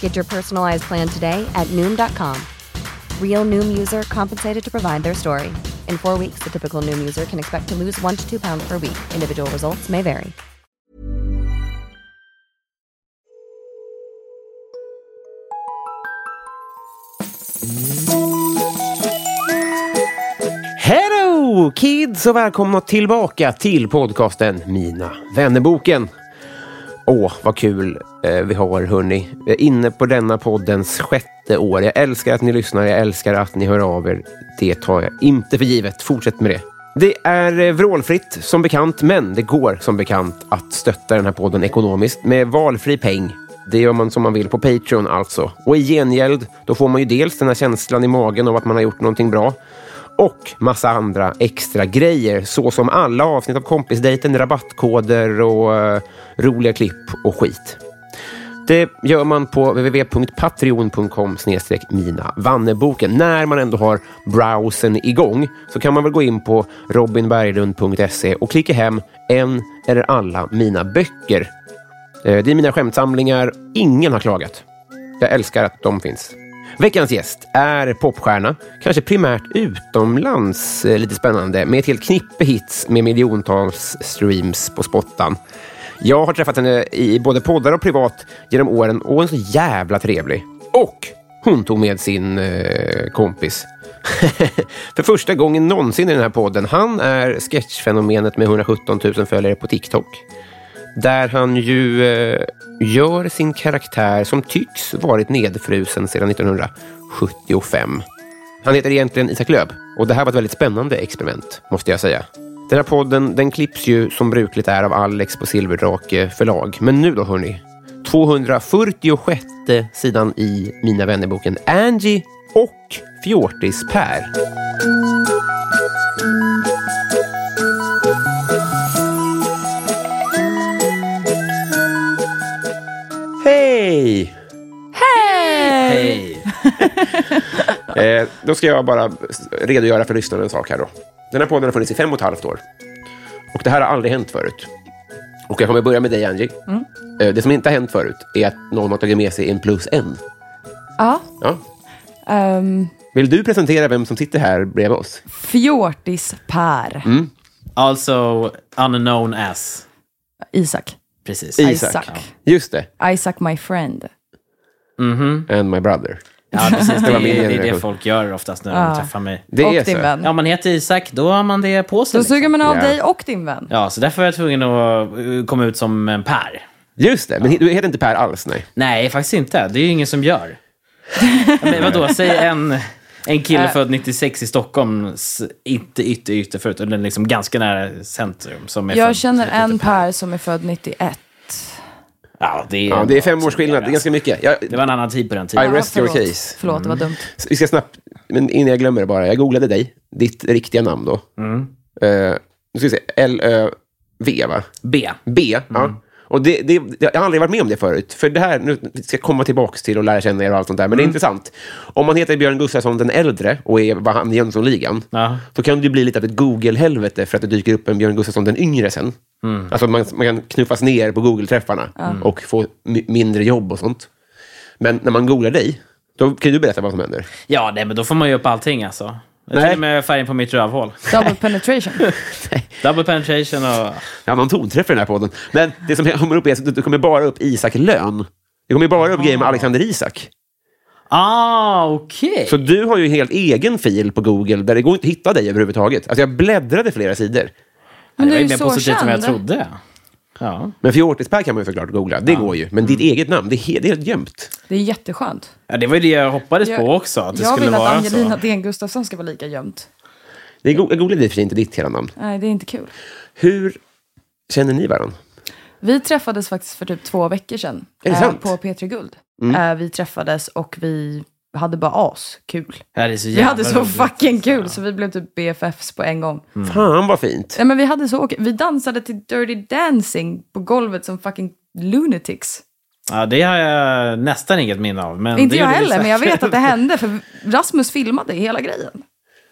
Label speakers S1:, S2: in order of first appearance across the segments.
S1: Get your personalized plan today at Noom.com. Real Noom user compensated to provide their story. In four weeks, the typical Noom user can expect to lose one to two pounds per week. Individual results may vary.
S2: Hello kids och välkomna tillbaka till podcasten Mina vännerboken. Åh, vad kul eh, vi har hörni. Vi är inne på denna poddens sjätte år. Jag älskar att ni lyssnar, jag älskar att ni hör av er. Det tar jag inte för givet. Fortsätt med det. Det är eh, vrålfritt som bekant, men det går som bekant att stötta den här podden ekonomiskt med valfri peng. Det gör man som man vill på Patreon alltså. Och i gengäld, då får man ju dels den här känslan i magen av att man har gjort någonting bra och massa andra extra grejer såsom alla avsnitt av kompisdejten, rabattkoder och eh, roliga klipp och skit. Det gör man på www.patreon.com minavanneboken. När man ändå har browsen igång så kan man väl gå in på robinberglund.se och klicka hem en eller alla mina böcker. Eh, Det är mina skämtsamlingar. Ingen har klagat. Jag älskar att de finns. Veckans gäst är popstjärna, kanske primärt utomlands, eh, lite spännande, med ett helt knippe hits med miljontals streams på spottan. Jag har träffat henne i både poddar och privat genom åren och hon är så jävla trevlig. Och hon tog med sin eh, kompis. För första gången någonsin i den här podden. Han är sketchfenomenet med 117 000 följare på TikTok där han ju eh, gör sin karaktär som tycks varit nedfrusen sedan 1975. Han heter egentligen Isak Löb och det här var ett väldigt spännande experiment, måste jag säga. Den här podden den klipps ju som brukligt är av Alex på Silverdrake förlag. Men nu då, hörni. 246 sidan i Mina vännerboken Angie och Fjortis-Per. Hej! Hej! eh, då ska jag bara redogöra för lyssnarna en sak här då. Den här podden har funnits i fem och ett halvt år. Och det här har aldrig hänt förut. Och jag kommer börja med dig, Angie.
S3: Mm.
S2: Eh, det som inte har hänt förut är att någon har tagit med sig en plus en.
S3: Ja.
S2: Ja.
S3: Um,
S2: Vill du presentera vem som sitter här bredvid oss?
S3: Fjortis-Per.
S2: Mm.
S4: Also unknown as.
S3: Isak.
S4: Precis.
S3: Isak.
S2: Just det.
S3: Isaac my friend.
S2: And my brother.
S4: Ja, precis. Det,
S2: var
S4: är,
S2: min
S4: det är
S2: generation.
S4: det folk gör oftast när de träffar mig.
S2: Det
S3: och
S2: är
S3: din
S2: så.
S3: vän.
S4: Ja, om man heter Isak, då har man det på sig.
S3: Då
S4: liksom.
S3: suger man av
S2: Ja.
S3: dig och din vän.
S4: Ja, så därför var jag tvungen att eh, komma ut som en Per.
S2: Just det. Men he- du heter inte Per alls, nej.
S4: Nej, faktiskt inte. Det är ju ingen som gör. Ja, Men vadå, säg en, en kille född 96 i Stockholm, s- inte ytter, ytter förut, utan liksom ganska nära centrum. Som är
S3: Jag
S4: född-
S3: känner
S4: som heter
S3: en Per som är född 91.
S4: Ja, det är,
S3: Mm.
S2: Ja, det är fem års skillnad. Det är ganska mycket. Jag,
S4: Det var en annan tid på den
S2: I
S4: tiden.
S2: rest your
S3: förlåt.
S2: case.
S3: Förlåt, det var dumt.
S2: Så Vi ska snabbt, men innan jag glömmer det bara. Jag googlade dig, ditt riktiga namn då. Eh, nu ska vi se, L-Ö-V va?
S4: B.
S2: B, ja. Och det, det, jag har aldrig varit med om det förut. För det här, nu ska jag komma tillbaka till och lära känna er och allt sånt där. Men det är intressant. Om man heter Björn Gustafsson den äldre och är vad han i Jönssonligan,
S4: Ja.
S2: då kan det ju bli lite av ett Google-helvete för att det dyker upp en Björn Gustafsson den yngre sen. Alltså man, man kan knuffas ner på Google-träffarna och få mi- mindre jobb och sånt. Men när man googlar dig, då kan du berätta vad som händer.
S4: Ja, nej, men då får man ju upp allting alltså.
S2: Nej.
S4: Till och med färgen på mitt rövhål.
S3: Double penetration.
S4: Double penetration och...
S2: Ja, man tonträff i den här podden. Men det som kommer upp är att det kommer bara upp Isak Lön. Det kommer bara upp grejer med Alexander Isak.
S4: Ah, okej.
S2: Så du har ju helt egen fil på Google där det går inte att hitta dig överhuvudtaget. Alltså jag bläddrade flera sidor.
S3: Men du
S4: det var
S3: är
S4: ju
S3: ju
S4: mer
S3: så
S4: positivt än vad jag
S3: känd.
S4: trodde. Ja.
S2: Men fjortispär kan man ju såklart googla. Det går ju. Men ditt eget namn, det är he- det är helt gömt.
S3: Det är jätteskönt.
S4: ja, det var ju det jag hoppades
S3: Jag-
S4: på också. Att det
S3: jag
S4: skulle
S3: vill att
S4: vara
S3: Angelina
S4: så.
S3: Den Gustafsson ska vara lika gömd.
S2: Det är go- Jag googlade i och för sig inte ditt hela namn.
S3: Nej, det är inte kul.
S2: Hur känner ni varandra?
S3: Vi träffades faktiskt för typ två veckor sedan.
S2: Är det
S3: eh,
S2: sant? Mm.
S3: På P3 Guld. Eh, vi träffades och vi hade bara as kul.
S4: Ja, det Mm. är så
S3: Vi
S4: jävla
S3: hade så
S4: roligt.
S3: fucking kul, så vi blev typ BFFs på en gång.
S2: Fan vad fint.
S3: Ja, men vi hade så okej. Vi dansade till Dirty Dancing på golvet som fucking lunatics.
S4: Ja, det har jag nästan inget minne av. Men
S3: Inte
S4: det
S3: jag
S4: gjorde vi
S3: heller, men jag
S4: säkert.
S3: vet att det hände, för Rasmus filmade hela grejen.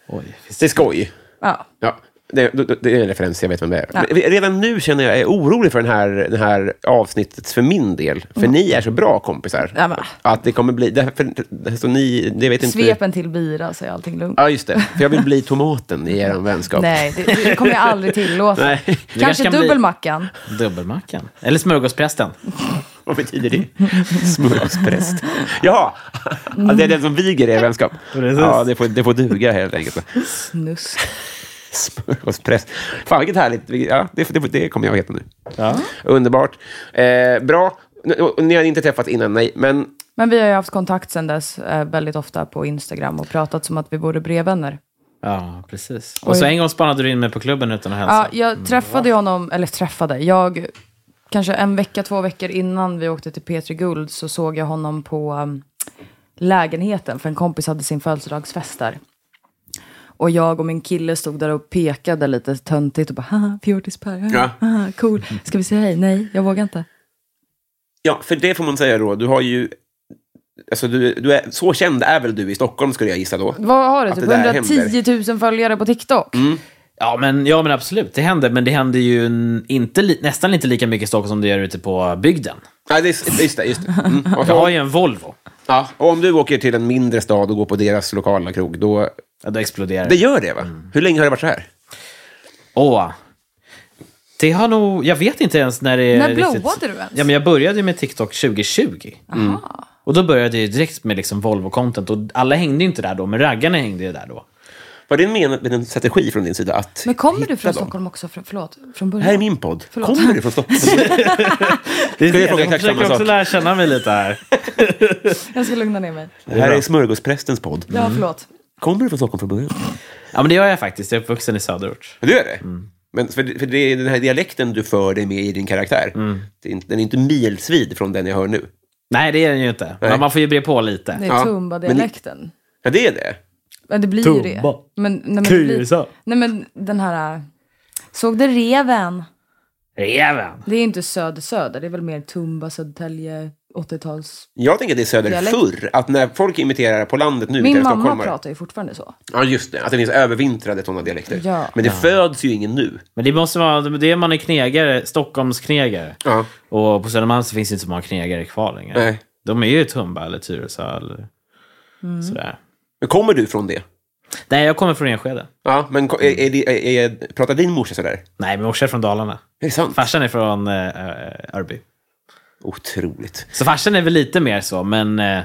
S4: Oj, visst.
S2: Det är skoj.
S3: Ja.
S2: Ja, det, det- det är en referens, jag vet vem det är. Men Redan nu känner jag jag är orolig för den här, den här avsnittet för min del. För ni är så bra kompisar.
S3: Mm. Ja, men.
S2: Att det kommer bli... Det, här- för, det, så ni, det vet inte...
S3: Svepen till bira så är allting lugnt.
S2: Ja, just det. För jag vill bli tomaten i er vänskap.
S3: Nej, det, det kommer jag aldrig tillåta.
S2: Nej.
S4: Det kanske
S3: Kanske
S4: kan bli-
S3: dubbelmackan.
S4: Dubbelmackan. Eller smörgåsprästen.
S2: Vad betyder det? Smörgåspräst. Jaha! Ja, det är den som viger er vänskap.
S4: Precis.
S2: Ja, det får, det får duga helt enkelt.
S3: Snusk.
S2: Smörgåspräst. Fan, vilket härligt. Ja, det, det, det kommer jag att heta nu.
S4: Ja.
S2: Underbart. Eh, bra. N- och Ni har inte träffats innan, nej. Men
S3: Men vi har ju haft kontakt sedan dess eh, väldigt ofta på Instagram och pratat som att vi vore brevvänner.
S4: ja, precis. Och så en gång spanade du in mig på klubben utan att
S3: Ja,
S4: hälsa.
S2: Mm,
S3: jag träffade ju honom, eller träffade, jag kanske en vecka, två veckor innan vi åkte till Petri Guld så såg jag honom på um, lägenheten för en kompis hade sin födelsedagsfest där. Och jag och min kille stod där och pekade lite töntigt och bara haha, fjortispär, haha,
S2: Ja.
S3: haha, cool. Ska vi säga hej? Nej, jag vågar inte.
S2: Ja, för det får man säga då. Du har ju... Alltså, du, du är, så känd är väl du i Stockholm, skulle jag gissa då.
S3: Vad har du?
S2: Att
S3: Typ
S2: det där Mm.
S3: 110 000 följare på TikTok?
S4: Ja men, ja, men absolut. Det händer. Men det händer ju n- inte li- nästan inte lika mycket i Stockholm som det gör ute på bygden.
S2: Ja, det, är- just det. Just det. Mm. Och,
S4: Jag har
S2: så,
S4: ju en Volvo.
S2: ja, och om du åker till en mindre stad och går på deras lokala krog, då...
S4: Ja, då exploderar
S2: Det
S4: det.
S2: gör det, va?
S4: Mm.
S2: Hur länge har det varit så här?
S4: Åh. Det har nog... Jag vet inte ens när det...
S3: När
S4: riktigt-
S3: blowade du ens?
S4: Ja, men jag började ju med TikTok 2020. Och då började jag ju direkt med liksom Volvo-content. Och alla hängde ju inte där då, men raggarna hängde ju där då.
S2: Var det en, men- en strategi från din sida att
S3: Men kommer
S2: hitta
S3: du från
S2: dem?
S3: Stockholm också? Från, förlåt, från
S2: Det
S3: början?
S2: här är min podd.
S3: Förlåt.
S2: Kommer du från Stockholm?
S4: Det är
S2: Ska jag
S4: det.
S2: fråga
S4: Jag
S2: exakt samma
S4: försöker också
S2: sak?
S4: lära känna mig lite här.
S3: Jag ska lugna ner mig.
S2: det här är smörgåsprästens podd.
S3: Ja, förlåt.
S2: Kommer du från Stockholm från början?
S4: Ja, men det gör jag faktiskt. Jag är uppvuxen i söderort.
S2: Du är det?
S4: Mm.
S2: Men för, för det är den här dialekten du för dig med i din karaktär.
S4: Mm.
S2: Det är inte, den är inte milsvid från den jag hör nu.
S4: Nej, det är den ju inte.
S2: Nej.
S4: Men man får ju bre på lite.
S3: Det är
S2: Ja,
S3: Tumba-dialekten.
S2: Ja, det är det.
S3: Ja, det blir ju det.
S4: Tumba.
S3: Men, nej, men det
S4: Kusa.
S3: blir, nej, men den här... äh, Såg du reven?
S4: Reven!
S3: Det är inte söder-söder, det är väl mer Tumba, Södertälje, 80-tals...
S2: Jag tänker att det är söder
S3: Dialekt.
S2: förr. Att när folk imiterar på landet nu,
S3: Min
S2: imiterar
S3: mamma
S2: stockholmare.
S3: pratar ju fortfarande så.
S2: Ja, just det. Att det finns övervintrade sådana dialekter.
S3: Ja.
S2: Men det föds ju ingen nu.
S4: Men det måste vara... Det är man är knegare. Stockholmsknegare.
S2: Ja.
S4: Och på Södermalm så finns det inte så många knegare kvar längre.
S2: Nej.
S4: De är ju Tumba eller Tyresö eller
S3: Mm.
S4: sådär.
S2: Men kommer du från det?
S4: Nej, jag kommer från Enskede.
S2: Ja, men ko- är, är, det- är, är, pratar din morsa sådär?
S4: Nej, min morsa är från Dalarna.
S2: Är det sant?
S4: Farsan är från eh, eh, Örby.
S2: Otroligt.
S4: Så farsan är väl lite mer så, men eh,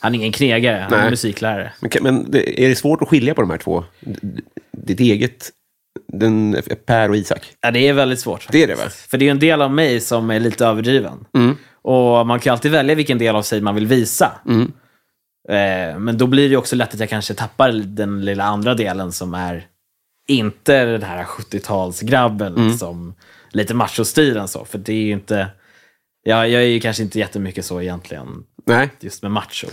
S4: han är ingen knegare. Han
S2: Nej.
S4: är musiklärare.
S2: Men, kan- men det, är det svårt att skilja på de här två? D- d- Ditt eget, den, Per och Isak?
S4: Ja, det är väldigt svårt.
S2: Det är det, va?
S4: För det är ju en del av mig som är lite överdriven.
S2: Mm.
S4: Och man kan ju alltid välja vilken del av sig man vill visa.
S2: Mm.
S4: Eh, men då blir det ju också lätt att jag kanske tappar den lilla andra delen som är inte den här 70-talsgrabben
S2: Mm.
S4: som lite machostyren så. För det är ju inte... Jag, jag är ju kanske inte jättemycket så egentligen,
S2: Nej, Mm.
S4: just med macho.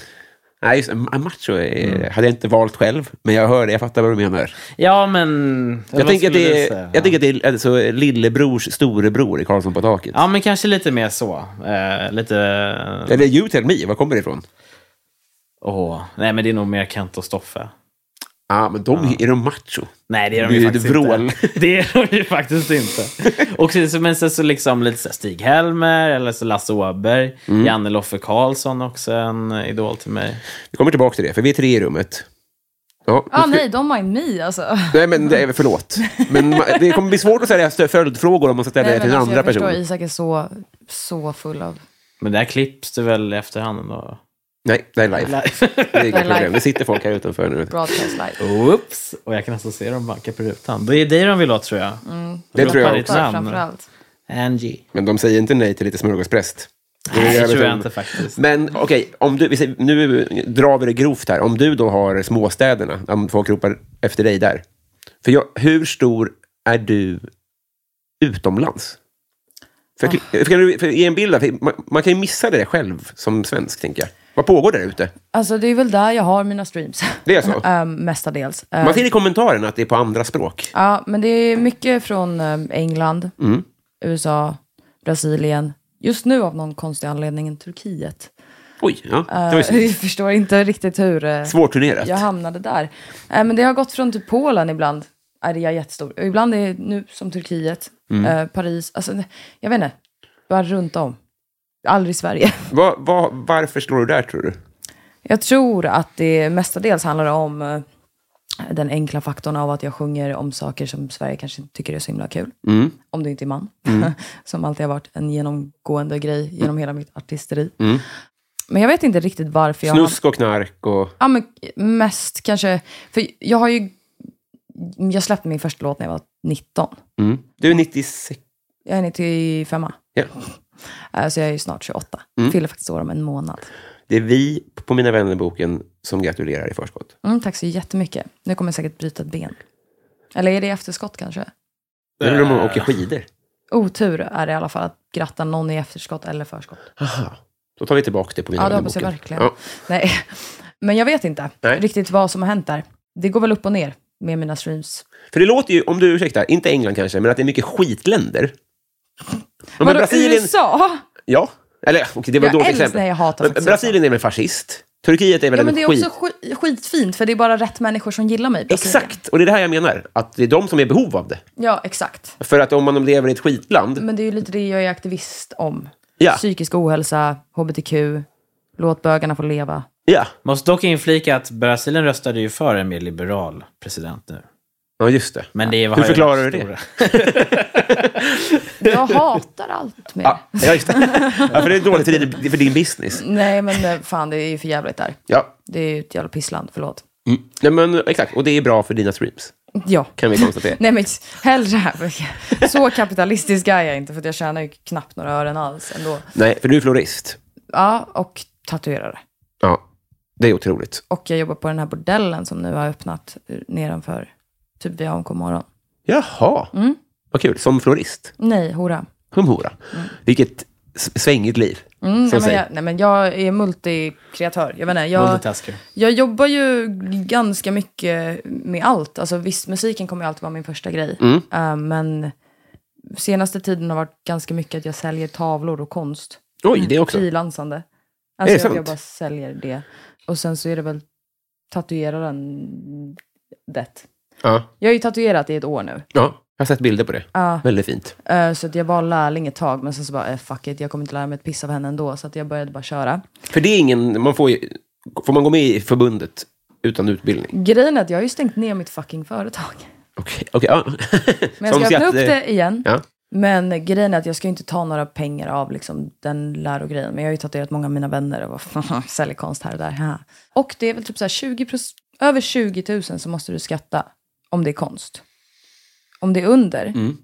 S2: Nej just, det. Ma- macho är, hade jag inte valt själv, men jag hör det, jag fattar vad du menar.
S4: Ja, men...
S2: Jag
S4: vad
S2: tänker att
S4: skulle du
S2: det
S4: säga?
S2: är, jag tänker att det är alltså, lillebrors storebror i Karlsson på taket.
S4: Ja, men kanske lite mer så. Eh, lite...
S2: Eller You Tell Me, var kommer det ifrån?
S4: Åh, nej men det är nog mer Kent och Stoffe.
S2: Ja, men de är de macho.
S4: Nej, det är
S2: Det
S4: de ju
S2: är
S4: faktiskt
S2: ett vrål.
S4: inte. Det är de ju faktiskt inte. Och sen, så- men sen så liksom lite så här Stig-Helmer, eller så Lasse Åberg,
S2: Mm.
S4: Janne Loffe Karlsson också en idol till mig.
S2: Vi kommer tillbaka till det, för vi är tre i rummet. Ja, nu
S3: Ah,
S2: ska-
S3: nej, don't mind me alltså.
S2: Nej, men det är, förlåt. Men ma- det kommer bli svårt att ställa stö- följdfrågor om man ska ställa det
S3: Nej,
S2: till
S3: men
S2: en
S3: alltså,
S2: andra
S3: jag
S2: person.
S3: förstår, Isak är så, så full av...
S4: Men det här klipps du väl i efterhand? Då?
S2: Nej, det är live. Det är inga
S3: live.
S2: problem. Det sitter folk här utanför nu.
S3: Broadcast live.
S4: Oops! Och jag kan nästan se dem banka på rutan. Det är dig de vill åt tror jag.
S2: Det tror
S4: Ropa
S2: jag
S4: ditt
S2: också.
S4: namn.
S3: Framförallt.
S4: Angie.
S2: Men de säger inte nej till lite smörgåspräst. är
S4: Nej, det
S2: jävligt
S4: tror jag
S2: dumt.
S4: inte faktiskt.
S2: Men okej, om du, vi säger- nu drar vi det grovt här. Om du då har småstäderna, om folk ropar efter dig där. För jag, hur stor är du utomlands? För, för, kan du, för, ge en bild, av- för man, man kan ju missa det själv som svensk, tänker jag. Vad pågår där ute?
S3: Alltså det är väl där jag har mina streams.
S2: Det är så?
S3: Ehm, mestadels. Ehm,
S2: Man ser i kommentarerna att det är på andra språk. Mm.
S3: Ja, men det är mycket från ehm, England, USA, Brasilien. Just nu av någon konstig anledning Turkiet.
S2: Oj, ja, det var
S3: Uh,
S2: ju
S3: jag förstår inte riktigt hur eh,
S2: svårturnerat.
S3: jag hamnade där. Eh, men det har gått från typ Polen ibland. Är det är jättestor. Och Ibland är det nu som Turkiet,
S2: Mm.
S3: eh, Paris. Alltså, nej, jag vet inte. Bara runt om. Aldrig Sverige.
S2: Vad- vad- varför slår du där, tror du?
S3: Jag tror att det mestadels handlar om eh, den enkla faktorn av att jag sjunger om saker som Sverige kanske inte tycker är så himla kul.
S2: Mm.
S3: Om du inte är man. som alltid har varit en genomgående grej genom hela mitt artisteri.
S2: Mm.
S3: Men jag vet inte riktigt varför jag...
S2: Snusk och knark och...
S3: Ja, men mest kanske... För jag har ju... Jag släppte min första låt när jag var 19.
S2: Mm. Du är 96.
S3: Jag är 95.
S2: Ja. Mm.
S3: eh, Så jag är ju snart 28. Fyller faktiskt år om en månad.
S2: Det är vi på Mina vännerboken som gratulerar i förskott.
S3: Mm, tack så jättemycket. Nu kommer jag säkert bryta ett ben. Eller är det efterskott kanske?
S2: Det är de som
S3: Äh.
S2: åker skidor.
S3: Otur är det i alla fall att gratta någon i efterskott eller förskott.
S2: Aha. Då tar vi tillbaka det på Mina
S3: Ja, det hoppas jag
S2: vännerboken.
S3: verkligen.
S2: Ja.
S3: Nej. Men jag vet inte
S2: Nej.
S3: riktigt vad som har hänt där. Det går väl upp och ner med mina streams.
S2: För det låter ju, om du ursäktar, inte England kanske, men att det är mycket skitländer. Ja, Men
S3: Vadå, USA?
S2: Ja. Eller, okej, det var ett
S3: Jag
S2: dåligt
S3: älskar-
S2: exempel.
S3: nej, jag hatar
S2: men,
S3: faktiskt
S2: Brasilien är väl fascist? Turkiet är väl
S3: Ja,
S2: en
S3: men det är
S2: skit...
S3: också sk- skitfint, för det är bara rätt människor som gillar mig. Brasilien.
S2: Exakt! Och det är det här jag menar, att det är de som är i behov av det.
S3: Ja, exakt.
S2: För att om man lever i ett skitland,
S3: Men det är ju lite det jag är aktivist om.
S2: Ja.
S3: Psykisk ohälsa, hbtq, låt bögarna få leva.
S2: ja.
S4: Måste dock inflika att Brasilien röstade ju för en mer liberal president nu.
S2: Ja, just det.
S4: Men det var
S2: Hur förklarar du det?
S3: Jag hatar allt med
S2: Ja, ja, just det. Ja, för det är dåligt för din, för din business.
S3: Nej, men eh, fan, det är ju för jävligt där.
S2: Ja.
S3: Det är ju ett jävla pissland, förlåt.
S2: Mm. Nej, men exakt. Och det är bra för dina streams,
S3: Ja.
S2: kan vi konstatera.
S3: Nej men hellre här. Så kapitalistisk är jag inte för att jag tjänar ju knappt några ören alls ändå.
S2: Nej, för du är florist.
S3: Ja, och tatuerare.
S2: Ja, det är otroligt.
S3: Och jag jobbar på den här bordellen som nu har öppnat eh, nedanför typ vid AMK morgon.
S2: Jaha, vad kul. Som florist,
S3: Nej, hora.
S2: som hora. Vilket s- svängigt liv.
S3: Mm,
S2: som
S3: nej, men
S2: säger.
S3: jag, nej men jag är multikreatör. Jag vet inte, jag,
S4: Multitasker.
S3: jag jobbar ju ganska mycket med allt. Alltså visst, musiken kommer ju alltid vara min första grej. Eh, men senaste tiden har varit ganska mycket att jag säljer tavlor och konst.
S2: Oj, det också.
S3: frilansande. Alltså jag,
S2: sant?
S3: jag bara säljer det. Och sen så är det väl tatueraren det.
S2: Ja.
S3: Jag har ju tatuerat i ett år nu.
S2: ja, jag har sett bilder på det. Väldigt fint.
S3: Eh, Så att jag var lärling ett tag, men sen så bara, eh, fuck it, jag kommer inte lära mig ett piss av henne ändå. Så att jag började bara köra.
S2: För det är ingen, man får ju, får man gå med i förbundet utan utbildning?
S3: Grejen är att jag har ju stängt ner mitt fucking företag.
S2: Okej, okej. ja.
S3: Men jag
S2: Som
S3: ska öppna
S2: att,
S3: upp
S2: eh,
S3: det igen.
S2: Ja.
S3: Men grejen är att jag ska ju inte ta några pengar av liksom, den lärogrejen. Men jag har ju tatuerat många av mina vänner och bara, säljer konst här och där. haha. Och det är väl typ så här 20 proc- över 20 000 så måste du skatta om det är konst. Om det är under,
S2: Mm.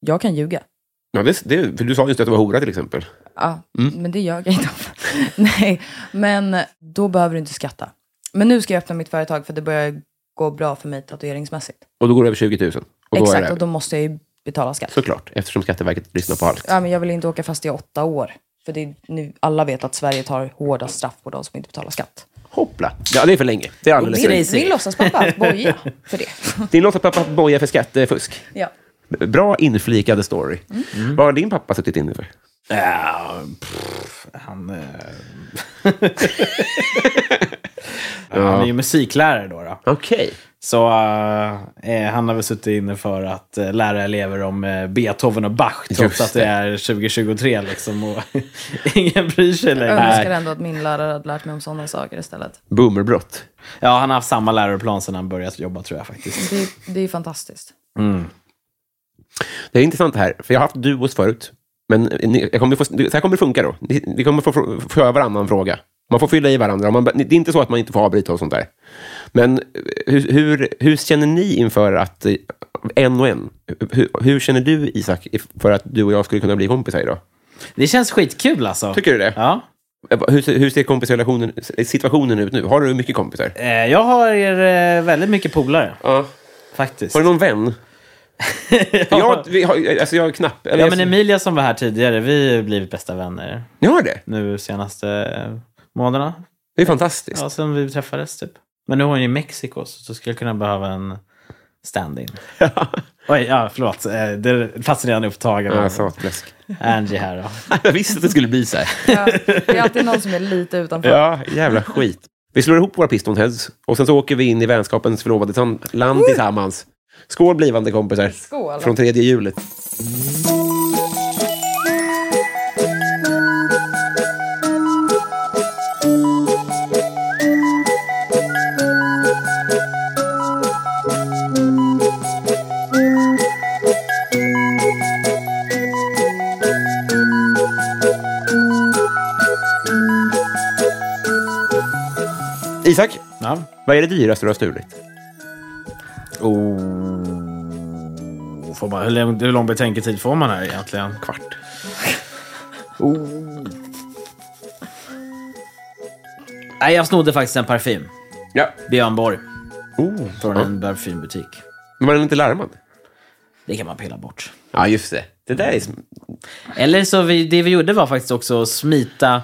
S3: jag kan ljuga.
S2: Ja, det, det, för du sa just att du var hora till exempel.
S3: Ja,
S2: Mm.
S3: Men det gör jag inte. Nej, men då behöver du inte skatta. Men nu ska jag öppna mitt företag för det börjar gå bra för mig tatueringsmässigt.
S2: Och då går det över 20 000. Och då är
S3: Exakt,
S2: det,
S3: och då måste jag ju betala skatt.
S2: Såklart, eftersom Skatteverket lyssnar på allt.
S3: Ja, men jag vill inte åka fast i åtta år. För det är nu, alla vet att Sverige tar hårda straff på de som inte betalar skatt.
S2: Hoppla! Ja, det är för länge. Det är alldeles för länge.
S3: Min låtsaspappa har haft boja för det.
S2: Din låtsaspappa bojar för skattefusk. Mm.
S3: ja.
S2: Bra inflikade story. Vad har din pappa suttit inne för?
S4: Ja, pff, han... eh, han är ju musiklärare då. då.
S2: Okej.
S4: Så eh, han har väl suttit inne för att eh, lära elever om eh, Beethoven och Bach, trots
S2: Just
S4: att det är 2023 liksom. Och ingen bryr sig
S3: Jag önskar
S4: längre.
S3: ändå att min lärare hade lärt mig om sådana saker istället.
S2: Boomerbrott.
S4: Ja, han har haft samma läroplan sedan han började jobba tror jag faktiskt.
S3: Det, är- det är ju fantastiskt.
S2: Mm. Det är intressant det här, för jag har haft eh, duos förut. Men ni- jag kommer få, så här kommer det funka då. Ni, ni kommer få, få, få höra varannan fråga. Man får fylla i varandra. Man, det är inte så att man inte får avbryta och sånt där. Men eh, hur, hur, hur känner ni inför att, eh, en och en, hur, hur känner du Isak if- för att du och jag skulle kunna bli kompisar idag?
S4: Det känns skitkul alltså.
S2: Tycker du det?
S4: Ja.
S2: Eh, Hur, ser- hur ser kompisrelationen, situationen ut nu? Har du mycket kompisar?
S4: Eh, Jag har eh, väldigt mycket polare,
S2: Ja.
S4: faktiskt.
S2: Har du någon vän? För jag, vi har, alltså jag har knapp... Eller
S4: Ja,
S2: jag-
S4: men Emilia som var här tidigare, vi har ju blivit bästa vänner
S2: Ni har det?
S4: nu senaste eh, månaderna.
S2: Det är fantastiskt.
S4: Ja, sen vi träffades typ. Men nu är hon ju i Mexiko, så då skulle jag kunna behöva en stand-in. Oj, ja, förlåt. Eh, Det fanns redan upptagen.
S2: Ja, satläsk.
S4: Angie här då.
S2: Jag visste att det skulle bli så här.
S3: Ja, det är alltid någon som är lite utanför.
S2: Ja, jävla skit. Vi slår ihop våra Piston Heads och sen så åker vi in i vänskapens förlovade tan- land tillsammans. Skål blivande kompisar.
S3: Skål.
S2: Från tredje hjulet. Isak,
S4: Ja.
S2: vad är det dyraste du har stulit?
S4: Får man, hur, lång, hur lång betänketid får man här egentligen?
S2: Kvart.
S4: Nej, jag snodde faktiskt en parfym.
S2: Ja.
S4: Björn Borg.
S2: Oh.
S4: Från en parfymbutik.
S2: Men var den inte larmad?
S4: Det kan man pilla bort.
S2: Ja, just det. Det där är... sm-
S4: Eller så vi, det vi gjorde var faktiskt också att smita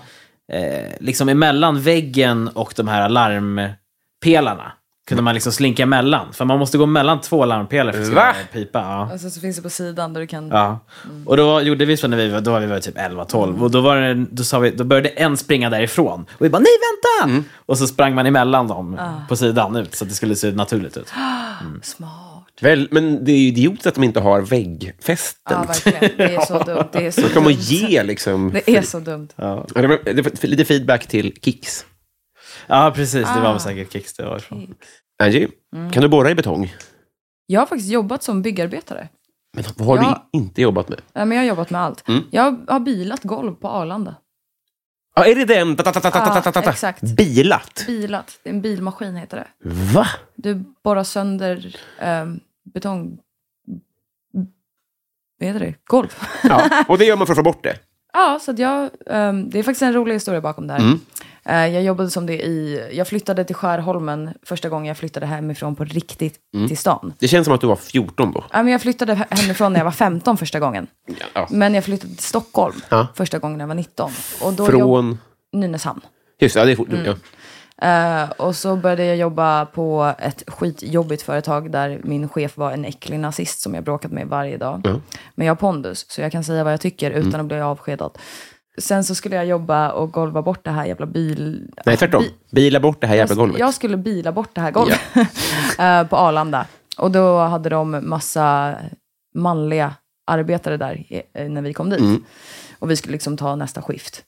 S4: eh, liksom emellan väggen och de här larmpelarna. Kunde man liksom slinka emellan. För man måste gå mellan två larmpelare för att
S2: Va?
S4: skriva en pipa. Ja.
S3: Alltså så finns det på sidan där du kan...
S4: Ja. Och då gjorde vi så när vi var, då var vi var typ 11-12. Och då, var det, då, sa vi, då började en springa därifrån. Och vi bara, nej vänta! Och så sprang man emellan dem på sidan ut så att det skulle se naturligt ut.
S3: Smart.
S2: Väl, men det är ju idiotiskt att de inte har väggfästen.
S3: Ja, verkligen. Det är så dumt. Det är så
S2: Då kan man
S3: dumt.
S2: ge liksom...
S3: Det är så dumt.
S2: Ja, det var, det var lite feedback till Kicks.
S4: Ja, precis. Det var väl säkert Kicks det var ifrån.
S2: Angie,
S3: Mm.
S2: kan du borra i betong?
S3: Jag har faktiskt jobbat som byggarbetare.
S2: Men vad har
S3: Ja.
S2: du inte jobbat med?
S3: Äh, Men jag har jobbat med allt.
S2: Mm.
S3: Jag har bilat golv på Arlanda.
S2: Ja, är det den? Ta, ta, ta, ta, ta, ta, ta, ta, ta.
S3: Ja, exakt.
S2: Bilat?
S3: Bilat. Det är En bilmaskin heter det.
S2: Va?
S3: Du borrar sönder ehm, betong... Vad heter det? Golv.
S2: Ja, och det gör man för att få bort det.
S3: Ja, så att jag, ehm, det är faktiskt en rolig historia bakom det här.
S2: Mm.
S3: Eh, jag jobbade som det i... Jag flyttade till Skärholmen första gången jag flyttade hemifrån på riktigt
S2: Mm.
S3: till stan.
S2: Det känns som att du var 14 då.
S3: Ja, men jag flyttade he- hemifrån när jag var 15 första gången.
S2: Ja.
S3: Men jag flyttade till Stockholm
S2: Ja.
S3: första gången när jag var 19. Och då Mm. jobb-
S2: Från...
S3: Nynäshamn.
S2: Just det, ja, det är fort. Ja.
S3: Eh, och så började jag jobba på ett skitjobbigt företag där min chef var en äcklig nazist som jag bråkat med varje dag. Men jag har pondus, så jag kan säga vad jag tycker utan
S2: Mm.
S3: att bli avskedad. Sen så skulle jag jobba och golva bort det här jävla bil...
S2: Nej, tvärtom.
S3: Bi-
S2: Bila bort det här jävla golvet.
S3: jag skulle bila bort det här golvet eh, på Arlanda. Och då hade de massa manliga arbetare där eh, när vi kom dit.
S2: Mm.
S3: Och vi skulle liksom ta nästa skift.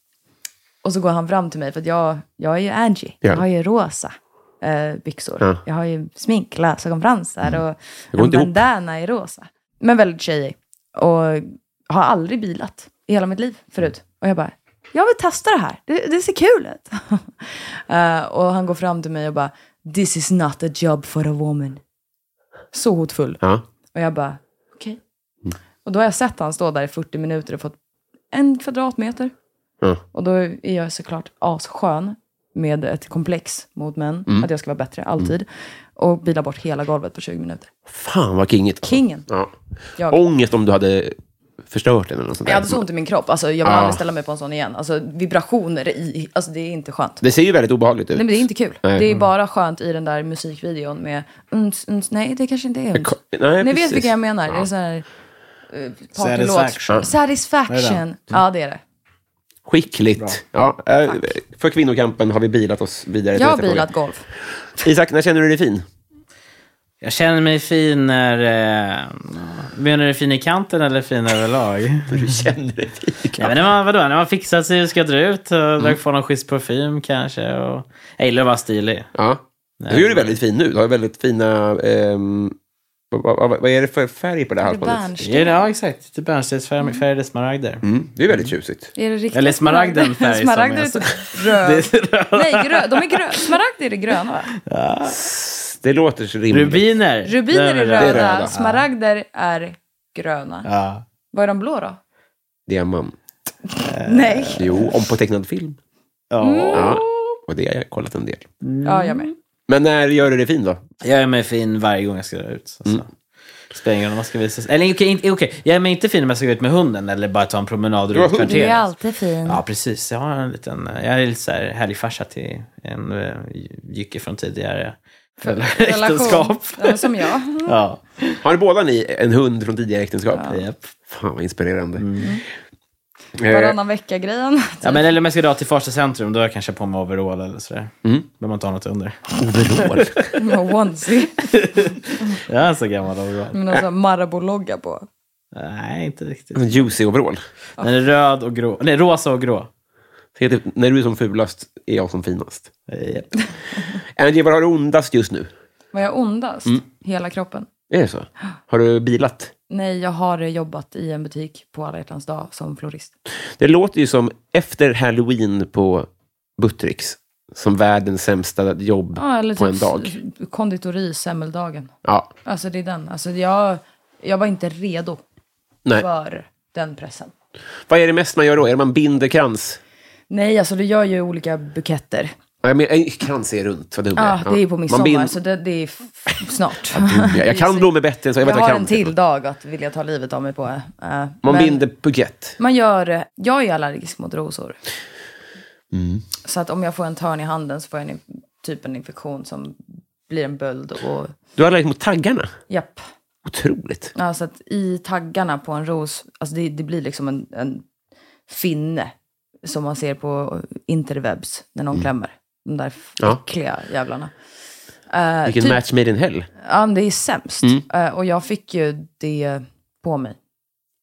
S3: Och så går han fram till mig, för att jag, jag är ju Angie.
S2: Ja.
S3: Jag har ju rosa eh, byxor.
S2: Ja. Mm.
S3: Jag har ju smink, glasögonfransar och
S2: går
S3: en
S2: inte ihop.
S3: bandana i rosa. Men väldigt tjejig. Och har aldrig bilat i hela mitt liv förut. Och jag bara, jag vill testa det här. Det, det ser kul ut. Eh, och han går fram till mig och bara, this is not a job for a woman. Så hotfull.
S2: Ja.
S3: Och jag bara, okej.
S2: Mm.
S3: Och då har jag sett han stå där i 40 minuter och fått en kvadratmeter.
S2: Ja.
S3: Och då är jag såklart asskön med ett komplex mot män.
S2: Mm.
S3: Att jag ska vara bättre, alltid. Och bila bort hela golvet på 20 minuter.
S2: Fan vad kinget.
S3: Kingen.
S2: Ja.
S3: Jag,
S2: Ångest om du hade förstört den eller något sånt
S3: jag
S2: där.
S3: hade så ont i min kropp. Alltså, jag vill
S2: Ja.
S3: aldrig ställa mig på en sån igen. Alltså, vibrationer i... Alltså, det är inte skönt.
S2: Det ser ju väldigt obehagligt ut.
S3: Nej, men det är inte kul.
S2: Nej.
S3: Det är bara skönt i den där musikvideon med uns, uns, nej det kanske inte är uns.
S2: ko- nej,
S3: Ni vet
S2: precis.
S3: vilka jag menar. Det
S2: Ja.
S3: är sån här... eh, partylåt.
S4: Satisfaction. Är det
S3: Satisfaction.
S4: den?
S3: Ja, det är det.
S2: Skickligt. Ja, eh, för kvinnokampen har vi bilat oss vidare till
S3: Jag har
S2: nästa
S3: bilat
S2: fråga.
S3: golv.
S2: Isak, när känner du dig fin?
S4: Jag känner mig fin när... Eh, menar du fin i kanten eller fin överlag?
S2: Du känner dig fin.
S4: Ja, men när man, vadå, när man fixat sig och ska dra ut och mm. får någon schysst parfym kanske. Och... Jag gillar att vara stilig.
S2: Ja. Du är ju väldigt fin nu. Du har väldigt fina ehm, Vad, vad, vad är det för färg på det här
S3: Är det
S2: halsbandet?
S3: bärnsten?
S4: Ja, ja exakt. Lite bärnstensfärgade smaragder.
S2: Mm, det är väldigt tjusigt.
S3: Är det riktigt?
S4: Eller smaragden färg som
S3: Smaragder är
S4: jag sa.
S3: typ röd.
S4: Det är röd.
S3: Nej, grö- de är gröna. Smaragder är det gröna, va?
S2: Det låter så rimligt.
S4: Rubiner.
S3: Rubiner är
S4: Det
S3: röda,
S2: röda.
S3: smaragder är gröna.
S4: Ja. Eh,
S3: Vad är de blå då?
S2: Diamant.
S3: Nej.
S2: Jo, om på tecknad film.
S4: Ja.
S3: Mm.
S2: Ja, och det har jag kollat en del.
S3: Ja, jag med.
S2: Men när gör du det fin då?
S4: Jag är mig fin varje gång jag ska dra ut. Alltså. Spelar ingen roll om man ska visa sig. Eller okej, inte- okej. jag är mig inte fin om jag ska gå ut med hunden eller bara ta en promenad
S2: har
S4: runt
S2: hund.
S4: kvarteret.
S3: alltid fin.
S4: Ja, precis. Jag har en liten, jag är lite så här helgfarsa till en eh, jycke från tidigare äktenskap.
S3: Ja, som jag.
S4: Ja,
S2: Har ni båda ni en hund från tidigare äktenskap?
S4: japp.
S2: Fan vad inspirerande. Eh,
S3: Mm. Varannan vecka-grejen.
S4: ja, men eller om jag ska dra till Farsta centrum, då har jag kanske på mig overall eller sådär. Mm. Behöver man inte ha något under.
S2: overall.
S3: Med onesie.
S4: Jag är en så gammal overall.
S3: Med någon sån här alltså, Marabou-logga på.
S4: Nej, inte riktigt.
S2: En Juicy overall.
S4: Den är röd och grå. Nej, rosa och grå.
S2: Det heter, när du är som fulast är jag som finast.
S4: Japp.
S2: Angie, vad har du ondast just nu?
S3: Var jag ondast?
S4: Mm.
S3: Hela kroppen?
S2: Är det så? Har du bilat?
S3: Nej, jag har jobbat i en butik på alla hjärtans dag som florist.
S2: Det låter ju som efter halloween på Buttricks. Som världens sämsta jobb
S3: Ja, eller
S2: på en
S3: typ
S2: dag.
S3: s- konditori, semmeldagen.
S2: Ja,
S3: Alltså det är den. Alltså jag, jag var inte redo
S2: nej.
S3: för den pressen.
S2: Vad är det mest man gör då? Är det man binder krans?
S3: Nej, alltså du gör ju olika buketter.
S2: Ja, Jag menar, eh, krans är runt, vad dum jag
S3: Ja, det är ju på midsommar,
S2: Man bind-
S3: så det, det är f- snart.
S2: Jag, jag kan blommor bättre än så. Jag,
S3: jag,
S2: vet att
S3: har
S2: jag kan.
S3: en till dag att vilja ta livet av mig på. eh,
S2: Man
S3: men-
S2: binder bukett.
S3: Man gör, eh, jag är allergisk mot rosor.
S2: Mm.
S3: Så att om jag får en törn i handen så får jag en, in- typ en infektion som blir en böld. Och,
S2: Du har allergisk mot taggarna.
S3: japp.
S2: Otroligt.
S3: Ja, så att i taggarna på en ros, alltså det, det blir liksom en, en finne som man ser på interwebs när någon klämmer. De där
S2: Mm. Ja.
S3: äckliga jävlarna. Eh,
S2: Vilken Mm.
S3: typ-
S2: match made in hell.
S3: Ja, men det är sämst. Eh, och jag fick ju det på mig.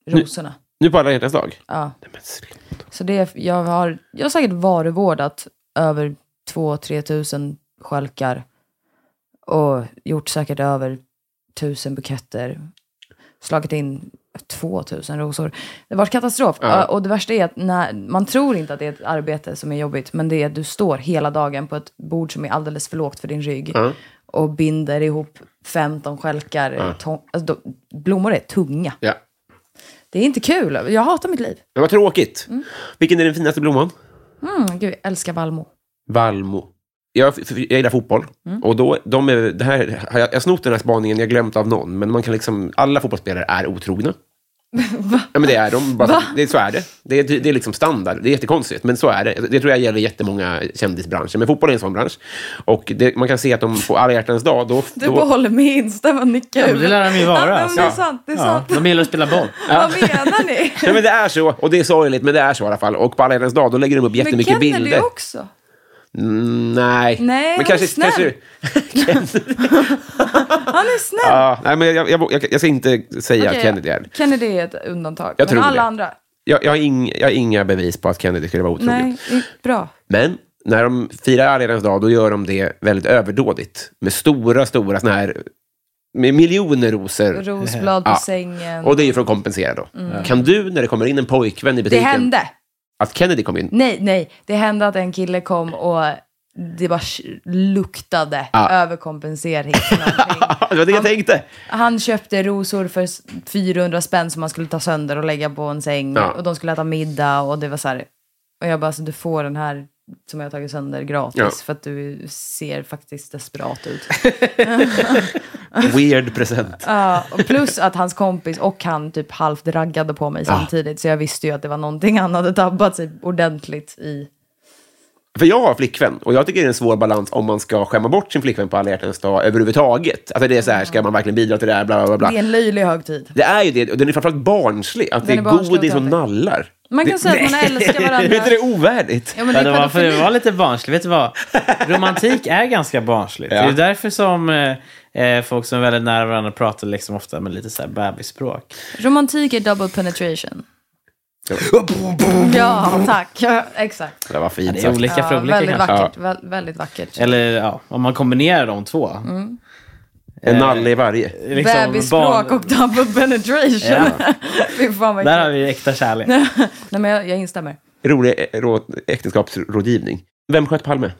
S3: Rosorna.
S2: Nu på alla hjärtans dag.
S3: Ja.
S2: Nej, men sluta.
S3: Så det, jag, har, jag har säkert varuvårdat över 2-3 tusen stjälkar. Och gjort säkert över tusen buketter. Slagit in 2 tusen rosor. Det var katastrof.
S2: Ja.
S3: Ö, Och det värsta är att när, man tror inte att det är ett arbete som är jobbigt. Men det är att du står hela dagen på ett bord som är alldeles för lågt för din rygg.
S2: Ja.
S3: Och binder ihop 15 stjälkar. tång- Alltså, de, blommor är tunga.
S2: Ja.
S3: Det är inte kul. Jag hatar mitt liv.
S2: Men vad tråkigt. Vilken är den finaste blomman?
S3: Mm, gud, jag älskar Valmo.
S2: Valmo. Jag, f- jag gillar fotboll. Och då, de är, det här, har jag jag har snott den här spaningen, jag har glömt av någon. Men man kan liksom, alla fotbollsspelare är otrogna. Va? Ja, men det är de. Bara, det, så är det. Det är, det är liksom standard. Det är jättekonstigt, men så är det. Det tror jag gäller jättemånga kändisbranscher. Men fotboll är en sån bransch. Och det, man kan se att de på alla hjärtans dag, då...
S3: Du
S2: då
S3: bara håller med instämma och nickar.
S4: Ja, men det lär de ju vara,
S3: Ja, men
S4: alltså.
S3: det är sant, det är
S4: Ja,
S3: sant.
S4: de gillar att spela boll.
S3: Vad menar ni?
S2: Nej, men det är så. Och det är sorgligt, men det är så i alla fall. Och på alla hjärtans dag, då lägger de upp
S3: Men
S2: jättemycket
S3: Kennedy
S2: bilder.
S3: också.
S2: Mm, nej.
S3: Nej,
S2: men
S3: han
S2: kanske,
S3: är snäll.
S2: kanske,
S3: Han är snäll.
S2: ja, nej, men jag, jag, jag, jag ska inte säga
S3: Okej,
S2: att Kennedy är det.
S3: Kennedy är ett undantag.
S2: Jag
S3: men
S2: tror
S3: alla
S2: det.
S3: andra.
S2: Jag, jag, har ing, jag har inga bevis på att Kennedy skulle vara otrogen.
S3: Nej, det är bra.
S2: Men när de firar alla hjärtans dag, då gör de det väldigt överdådigt. Med stora, stora såna här... Med miljoner rosor.
S3: Rosblad på
S2: Ja.
S3: sängen.
S2: Och det är ju för att kompensera då. Kan du, när det kommer in en pojkvän i
S3: Mm. det
S2: butiken...
S3: hände.
S2: Att Kennedy kom in.
S3: Nej, nej. Det hände att en kille kom och det bara sh- luktade överkompensering. för någonting.
S2: det var det jag tänkte.
S3: Han köpte rosor för s- 400 spänn som han skulle ta sönder och lägga på en säng.
S2: Ja.
S3: Och de skulle äta middag och det var så här. Och jag bara, alltså, du får den här som jag har tagit sönder gratis
S2: Ja.
S3: för att du ser faktiskt desperat ut.
S2: Weird present.
S3: Ja, och plus att hans kompis och han typ halvt raggade på mig samtidigt. Så jag visste ju att det var någonting han hade tabbat sig ordentligt i.
S2: För jag har flickvän och jag tycker det är en svår balans om man ska skämma bort sin flickvän på alla hjärtans dag överhuvudtaget. Alltså det är så här, ska man verkligen bidra till det här, bla bla bla.
S3: Det är en löjlig högtid.
S2: Det är ju det, och den är framförallt barnslig. Att det
S3: Den
S2: är
S3: är barnslig och
S2: godis och
S3: töntig.
S2: nallar.
S3: Man kan säga att man älskar varandra.
S2: Är inte det ovärdigt?
S3: Ja, men det
S4: Ja,
S3: är
S4: det, var, för det
S3: pedofili.
S4: var lite barnsligt. Vet du vad? Romantik är ganska barnsligt.
S2: Ja.
S4: Det är därför som eh, eh, folk som är väldigt nära varandra pratar liksom ofta med lite så här bebisspråk.
S3: Romantik är double penetration. Ja, tack. Ja, exakt.
S2: Det var fint
S4: Det är
S2: sagt.
S4: olika för
S3: Ja,
S4: olika
S3: väldigt
S4: kanske.
S3: vackert. Vä- väldigt vackert.
S4: Eller ja, om man kombinerar de två.
S2: En nalle i varje.
S4: Liksom
S3: Mm. Bebisspråk
S4: barn-
S3: och double penetration. Fy fan vad
S4: Där har
S3: äckligt.
S4: vi äkta kärlek.
S3: Nej, men jag, jag instämmer.
S2: Rolig eh, rå- äktenskapsrådgivning. Vem sköt Palme?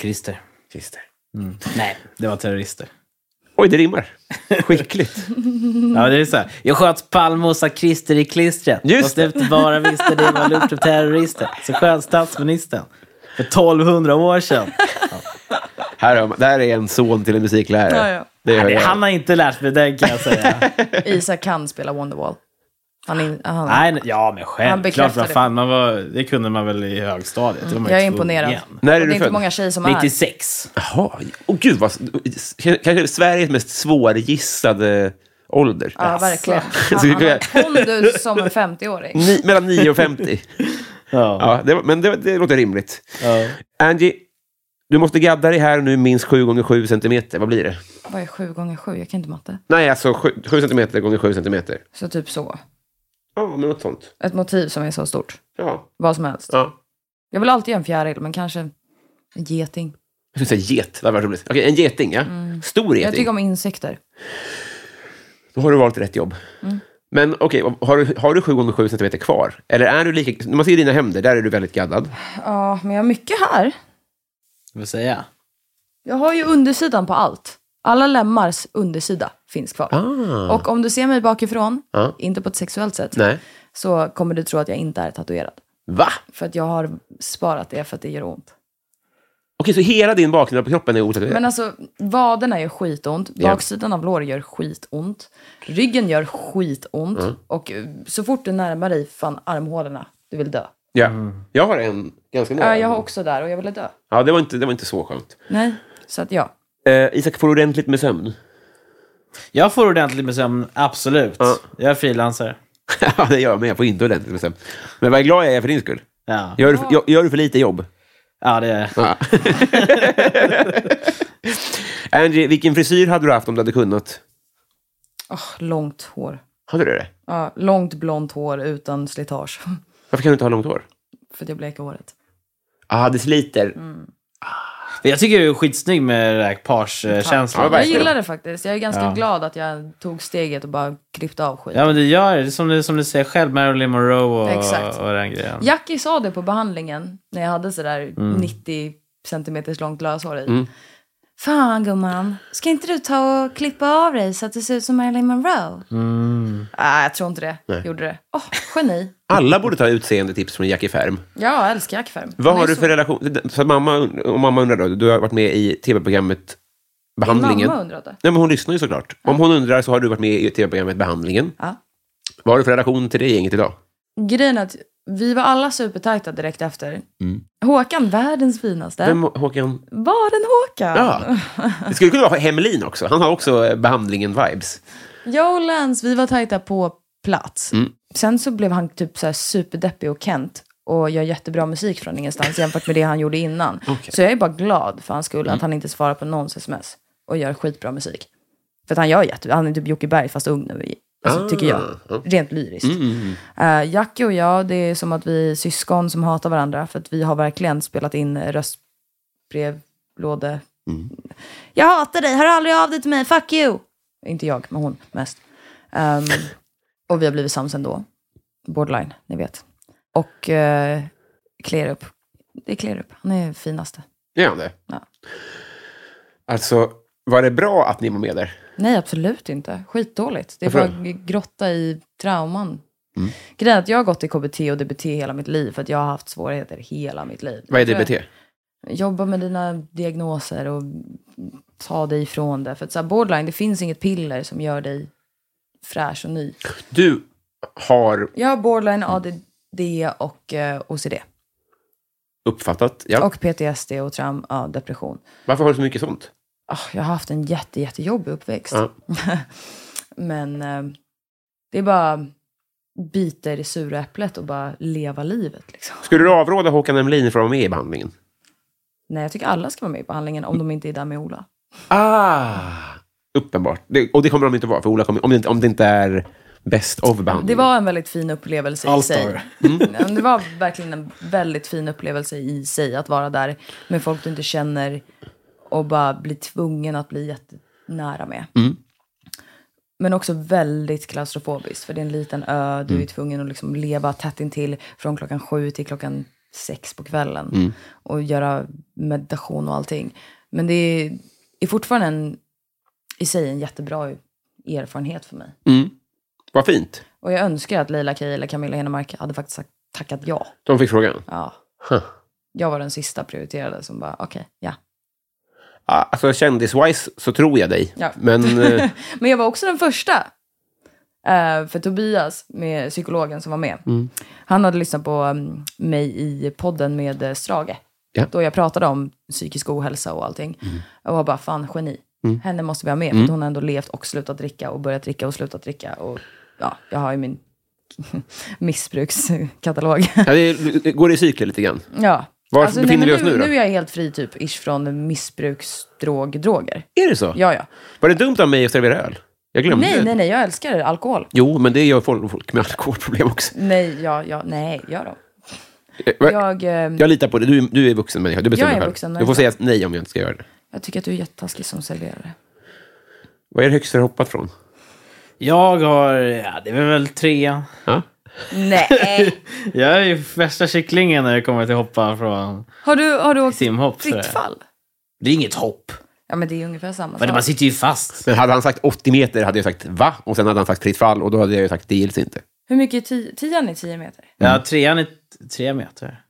S4: Christer.
S2: Christer.
S4: Nej, Mm. det var terrorister.
S2: Oj, det rimmar. Skickligt.
S3: Mm.
S4: Ja, det är så här. Jag sköt Palme och sa Christer i klistret.
S2: Just
S4: och slutet bara visste det var luft och terrorister. Så sköt statsministern. För 1200 år sedan.
S2: Här, har man- där är en son till en musiklärare.
S3: Ja, ja.
S2: Det gör
S4: Nej,
S2: jag.
S4: han har inte lärt mig den kan jag säga.
S3: Isak kan spela Wonderwall. Han är, han,
S4: Nej, nej, ja, men
S3: Han
S4: självklart.
S3: bekräftar
S4: Vad
S3: det.
S4: fan, man var, det kunde man väl i högstadiet. Det var man
S3: jag är
S4: ju tvungen.
S3: imponerad.
S2: När är
S3: Och
S2: du
S3: det är inte
S2: född?
S3: många tjejer som är.
S4: 96.
S2: Jaha. Åh, gud, vad... kanske Sveriges mest svårgissade ålder.
S3: Ja, verkligen.
S2: Så
S3: Han,
S2: vi
S3: han
S2: kan-
S3: har pondus som en 50-åring.
S2: Ni, mellan 9 och 50.
S4: Ja.
S2: Ja, det, var- men det, det låter rimligt.
S4: Ja.
S2: Angie, du måste gadda dig här nu minst 7 gånger 7 centimeter. Vad blir det?
S3: Vad är sju gånger sju? Jag kan inte matte.
S2: Nej, alltså 7, 7 centimeter gånger 7 centimeter.
S3: Så typ så.
S2: Ja, men något sånt.
S3: Ett motiv som är så stort.
S2: Ja.
S3: Vad som helst.
S2: ja.
S3: Jag vill alltid göra en fjäril, men kanske en geting.
S2: Jag skulle säga get. Det hade varit roligt. Okej, en geting, ja. Stor
S3: Mm. Jag
S2: geting.
S3: tycker om insekter.
S2: Då har du valt rätt jobb.
S3: Mm.
S2: Men okej, har, du- har du 7 gånger 7 centimeter kvar? Eller är du lika... När man ser dina händer, där är du väldigt gaddad.
S3: Ja, men jag har mycket här.
S4: Vad säger jag?
S3: Jag har ju undersidan på allt. Alla lemmars undersida finns kvar.
S2: Ah.
S3: Och om du ser mig bakifrån,
S2: Ja.
S3: inte på ett sexuellt sätt,
S2: Nej.
S3: så kommer du tro att jag inte är tatuerad.
S2: Va?
S3: För att jag har sparat det för att det gör ont.
S2: Okej, så hela din baksida på kroppen är otatuerad?
S3: Men alltså, vaderna gör skitont,
S2: Ja.
S3: baksidan av lår gör skitont, ryggen gör skitont
S2: Mm.
S3: och eh, så fort du närmar dig fan armhålorna, du vill dö.
S2: Ja. Jag har en ganska nära.
S3: Ja, jag har också där och jag ville dö.
S2: Ja, det var inte, det var inte så skönt.
S3: Nej, så att ja.
S2: Eh, Isak, får du ordentligt med sömn?
S4: Jag får ordentligt med sömn, absolut.
S2: Ja.
S4: Jag är frilansare.
S2: ja, det gör jag med. Jag får inte ordentligt med sömn. Men vad glad jag är för din skull.
S4: Ja.
S2: Gör du, gör, gör du för lite jobb?
S4: ja, det är
S2: Ja. Angie, vilken frisyr hade du haft om du hade kunnat?
S3: Åh, långt hår.
S2: Hade du det?
S3: Ja, långt blont hår utan slitage.
S2: Varför kan du inte ha långt hår?
S3: för att jag bleker håret.
S2: Ah, det sliter.
S3: Mm.
S4: Jag tycker du är skitsnygg med det här page-känslan.
S2: Ja,
S3: Jag
S2: verkligen.
S3: gillar det faktiskt. Jag är ganska
S4: Ja.
S3: glad att jag tog steget och bara klippte av skit.
S4: Ja, men du gör det. Det är som du, som du säger själv, Marilyn Monroe och,
S3: Exakt.
S4: och den grejen.
S3: Jackie sa det på behandlingen när jag hade sådär
S2: Mm.
S3: 90 centimeters långt löshår i. Fan gumman, ska inte du ta och klippa av dig så att det ser ut som Marilyn Monroe? Nej,
S2: Mm.
S3: jag tror inte det. Gjorde det. Åh, geni.
S2: Alla borde ta utseendetips från Jackie Färm.
S3: Ja, jag älskar Jackie Färm.
S2: Vad
S3: Han är
S2: har du
S3: så-
S2: för relation? Så att mamma, und- om mamma undrar då, du har varit med i tv-programmet Behandlingen.
S3: Mamma undrade.
S2: Nej, men hon lyssnar ju såklart. Om hon undrar så har du varit med i tv-programmet Behandlingen.
S3: Ja.
S2: Vad har du för relation till det gänget idag?
S3: Grejen är att vi var alla supertajta direkt efter. Håkan, världens finaste.
S2: Mm. Vem, Håkan?
S3: Var den Håkan?
S2: Ja. Det skulle kunna vara Hemelin också. Han har också eh, Behandlingen-vibes.
S3: Jag och Lance, vi var tajta på plats.
S2: Mm.
S3: Sen så blev han typ så här superdeppig och Kent och gör jättebra musik från ingenstans jämfört med det han gjorde innan. Så jag är bara glad för hans skull
S2: Mm.
S3: att han inte svarar på någons sms och gör skitbra musik. För att han gör jätte, han är typ Jocke Berg fast ung nu, i- alltså,
S2: Ah. Mm,
S3: tycker jag. Rent lyriskt. Eh, Jackie och jag, det är som att vi är syskon som hatar varandra för att vi har verkligen spelat in röstbrevlåde...
S2: Mm.
S3: Jag hatar dig, hör aldrig av dig till mig, fuck you! Inte jag, men hon mest. Ehm, och vi har blivit sams ändå. Borderline, ni vet. Och uh, Kleerup. Det är Kleerup, han är finaste.
S2: Gör han det?
S3: Ja.
S2: Alltså, var det bra att ni var med där?
S3: Nej, absolut inte. Skitdåligt. Det är
S2: Varför? Mm.
S3: bara grotta i trauman. Grejen är att jag har gått i KBT och DBT hela mitt liv för att jag har haft svårigheter hela mitt liv.
S2: Vad är
S3: Jag tror
S2: DBT?
S3: jag- Jobba med dina diagnoser och ta dig ifrån det. För att så här, borderline, det finns inget piller som gör dig fräsch och ny.
S2: Du har
S3: Jag har borderline, ADD och eh, OCD.
S2: uppfattat, ja.
S3: Och PTSD och traum, ja, depression.
S2: Varför har du så mycket sånt?
S3: Ah, jag har haft en jätte, jättejobbig uppväxt.
S2: Ja.
S3: Men eh, det är bara bita i det sura äpplet och bara leva livet. Liksom.
S2: Skulle du avråda Håkan Hemelin från att vara med i behandlingen?
S3: Nej, jag tycker alla ska vara med i behandlingen om de inte är där med Ola.
S2: Ah! Uppenbart. Det, och det kommer de inte vara, för Ola kommer, om, det, inte- om det inte är best of behandling.
S3: Det var en väldigt fin upplevelse i sig. Mm.
S4: All-star.
S3: Ja, men Det var verkligen en väldigt fin upplevelse i sig att vara där med folk du inte känner och bara bli tvungen att bli jätte nära med. Men också väldigt klaustrofobiskt, för det är en liten ö. Du är tvungen att liksom leva tätt intill från klockan sju till klockan sex på kvällen. Och göra meditation och allting. Men det är, är fortfarande en, i sig en jättebra erfarenhet för mig.
S2: Mm. Vad fint.
S3: Och jag önskar att Leila Kay eller Camilla Henemark hade faktiskt sagt, tackat ja.
S2: De fick frågan.
S3: ja.
S2: Huh.
S3: Jag var den sista prioriterade som bara, okej, ja.
S2: Ja, Alltså kändiswise så tror jag dig.
S3: Ja.
S2: Men eh,
S3: Men jag var också den första. Eh, för Tobias, med psykologen som var med,
S2: Mm.
S3: han hade lyssnat på mm, mig i podden med eh, Strage.
S2: Ja. Mm.
S3: Då jag pratade om psykisk ohälsa och allting. Och var bara, fan geni. Henne måste vi ha med, för att hon har ändå levt och slutat dricka och börjat dricka och slutat dricka. Och ja, jag har ju min missbrukskatalog.
S2: ja, det går i cykler lite grann.
S3: ja. Alltså,
S2: Var befinner vi
S3: men
S2: oss nu då?
S3: Nu är jag helt fri typ, ish, från missbruksdrog, droger.
S2: Är det så?
S3: Ja, ja.
S2: Var det dumt av mig att servera öl? Jag glömde.
S3: Nej, nej, nej, jag älskar alkohol.
S2: Jo, men det gör folk, folk med alkoholproblem också.
S3: Nej, ja, ja, nej, gör dem.
S2: Eh, va-
S3: Jag, eh,
S2: Jag litar på dig. Du, du är vuxen människa. Du bestämmer
S3: Jag är
S2: själv.
S3: vuxen
S2: Du får
S3: människa.
S2: säga nej om jag inte ska göra det.
S3: jag tycker att du är jättetaskig som serverare.
S2: Vad är det högsta du har hoppat från?
S4: Jag har, ja, det är väl tre.
S2: Ja?
S3: Nej!
S4: Jag är ju värsta kycklingen när det kommer till hoppa från
S3: Har du, har du åkt
S4: simhopp.
S3: fritt fall?
S4: Det är inget hopp.
S3: Ja, men det är ungefär samma
S4: Men man
S3: sak.
S4: sitter ju fast.
S2: Men hade han sagt 80 meter hade jag sagt va? Och sen hade han sagt fritt fall och då hade jag ju sagt det gills inte.
S3: Hur mycket är tio, tian är tio meter?
S4: Ja, trean är t- tre meter.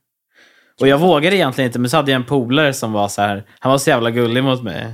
S4: Och jag vågade egentligen inte, men så hade jag en polare som var så här, han var så jävla gullig mot mig.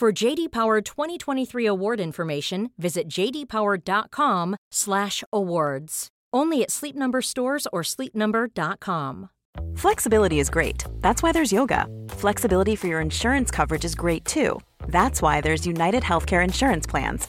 S5: For JD Power 2023 award information, visit jdpower.com/awards. Only at Sleep Number stores or sleepnumber.com.
S6: Flexibility is great. That's why there's yoga. Flexibility for your insurance coverage is great too. That's why there's United Healthcare Insurance Plans.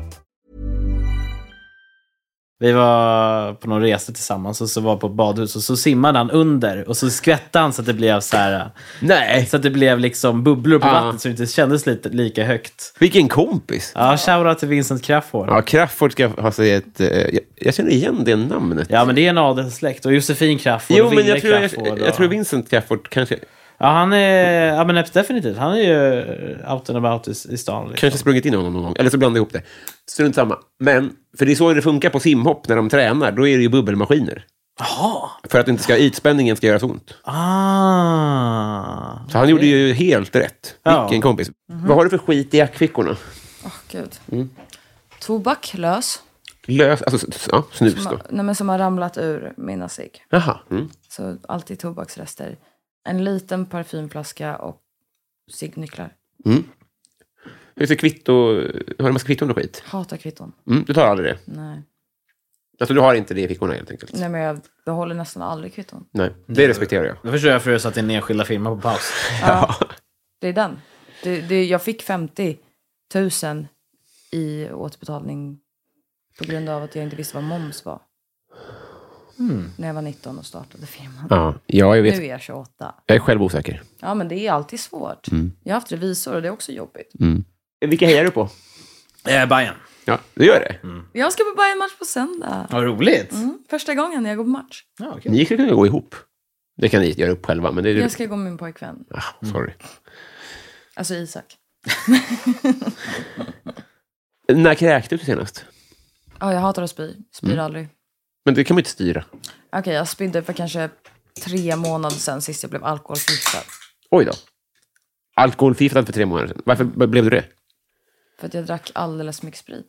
S4: Vi var på någon resa tillsammans och så var på ett badhus och så simmade han under och så skvättade han så att det blev så här,
S2: Nej!
S4: så att det blev liksom bubblor på
S2: Ja.
S4: vattnet så det inte kändes lite, lika högt.
S2: Vilken kompis!
S4: Ja, shoutout till Vincent Crafoord.
S2: Ja, Crafoord ska ha sig ett... eh, jag, jag känner igen det namnet.
S4: Ja, men det är en adelssläkt. Och Josefin Crafoord
S2: jo,
S4: och
S2: men
S4: Ville
S2: jag tror, jag,
S4: Crafoord.
S2: jag
S4: och-
S2: tror Vincent Crafoord kanske,
S4: Ja, han är... Ja, men definitivt. Han är ju out and about i, i stan. Liksom.
S2: kanske sprungit in i honom någon gång. Eller så blandade jag ihop det. Strunt samma. Men, för det är så det funkar på simhopp när de tränar. Då är det ju bubbelmaskiner. Jaha! För att inte ska, ytspänningen ska göra så ont.
S4: Ah!
S2: Så han gjorde ju helt rätt.
S4: Ja.
S2: Vilken kompis. Vad har du för skit i jackfickorna?
S3: Åh, gud. Tobak lös,
S2: Lös, alltså s- s- ja, snus
S3: som,
S2: då.
S3: har- nej, men som har ramlat ur mina cigg.
S2: Jaha. Mm.
S3: Så alltid tobaksrester. En liten parfymflaska och ciggnycklar.
S2: Hur ser kvitto... Har du en massa kvitton och skit?
S3: Hatar kvitton.
S2: Mm, du tar aldrig det?
S3: Nej.
S2: Alltså du har inte det i fickorna helt enkelt?
S3: nej, men jag behåller nästan aldrig kvitton.
S2: Nej, det respekterar jag.
S4: Då förstår jag för att du satte din enskilda firma på paus.
S3: Ja, det är den. Det, det, jag fick 50 000 i återbetalning på grund av att jag inte visste vad moms var. När jag var 19 och startade firman.
S2: Ja, ja Hmm. jag
S3: Nu
S2: vet.
S3: är jag 28.
S2: Jag är själv osäker.
S3: Ja, men det är alltid svårt.
S2: Mm.
S3: Jag har haft revisor och det är också jobbigt.
S2: Vilka hejar du på?
S4: Eh, Bayern.
S2: Ja, du gör det?
S3: Jag ska på Bayern match på söndag.
S4: Vad roligt!
S3: Mm, första gången jag går på match.
S4: Ja, okej.
S2: Ni skulle kunna gå ihop. Det kan ni göra upp själva, men det är du.
S3: Jag ska gå med min pojkvän,
S2: Ah, sorry.
S3: alltså Isak.
S2: När kräkte du senast?
S3: Ja, jag hatar att spy. Spyr
S2: Mm.
S3: aldrig.
S2: Men det kan man ju inte styra.
S3: Okej, jag spydde för kanske tre månader sedan sist jag blev alkoholförgiftad.
S2: Oj då. Alkoholförgiftad för tre månader sedan. Varför b- blev du det?
S3: För att jag drack alldeles för mycket sprit.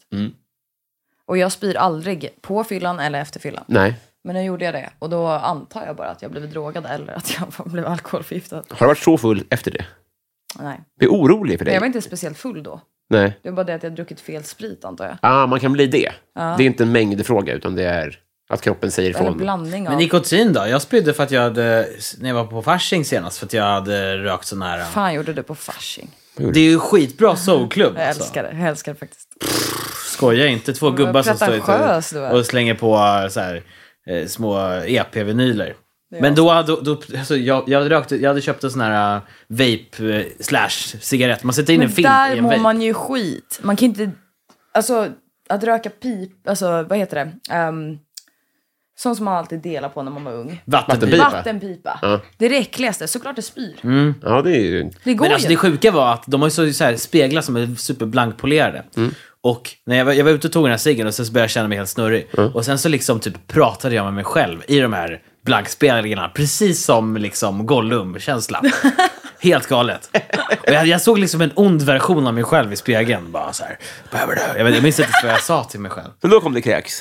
S3: Och jag spyr aldrig på fyllan eller efter fyllan.
S2: Nej.
S3: Men nu gjorde jag det och då antar jag bara att jag blev drogad eller att jag blev alkoholförgiftad.
S2: Har du varit så full efter det?
S3: Nej.
S2: Blir orolig för
S3: Men
S2: dig?
S3: jag var inte speciellt full då.
S2: Nej.
S3: Det var bara det att jag druckit fel sprit antar jag.
S2: Ah, man kan bli det. Det är inte en mängdfråga, utan det är att kroppen säger
S3: Eller
S2: ifrån.
S3: blandning av.
S4: Men nikotin då? Jag spydde för att jag hade, när jag var på Fasching senast, för att jag hade rökt sån här...
S3: Fan gjorde du på Fasching.
S4: Det är ju skitbra soulklubb.
S3: Jag
S4: alltså.
S3: älskar det. Jag älskar det faktiskt.
S4: Skoja inte, två
S3: vad
S4: gubbar som står
S3: pretentiös du
S4: ute
S3: är.
S4: och slänger på eh, så här, eh, små EP-vinyler. Men då, hade- då, alltså, jag, jag, rökte, jag hade köpt en sån här eh, vape eh, slash cigarett. Man sätter in
S3: Men
S4: en film i
S3: där
S4: en
S3: mår
S4: vape.
S3: man ju skit. Man kan inte... Alltså, att röka pip... Alltså, vad heter det? Ehm, sånt som man alltid delar på när man var ung.
S2: Pipa.
S4: Vattenpipa.
S3: Vattenpipa. Det är det äckligaste. Såklart det spyr.
S2: Ja, det är ju...
S3: Det går
S4: Mm. Men alltså
S3: ju
S4: det sjuka var att de har ju så, så här speglar som är superblankpolerade. Och när jag var, jag var ute och tog den här ciggen och sen så började jag känna mig helt snurrig. Och sen så liksom typ pratade jag med mig själv i de här blankspeglarna. Precis som liksom Gollum-känslan. helt galet. Och jag, jag såg liksom en ond version av mig själv i spegeln. Bara så här, "Behöver du?" jag, vet- jag minns inte ens vad jag sa till mig själv.
S2: Men då kom det kräks.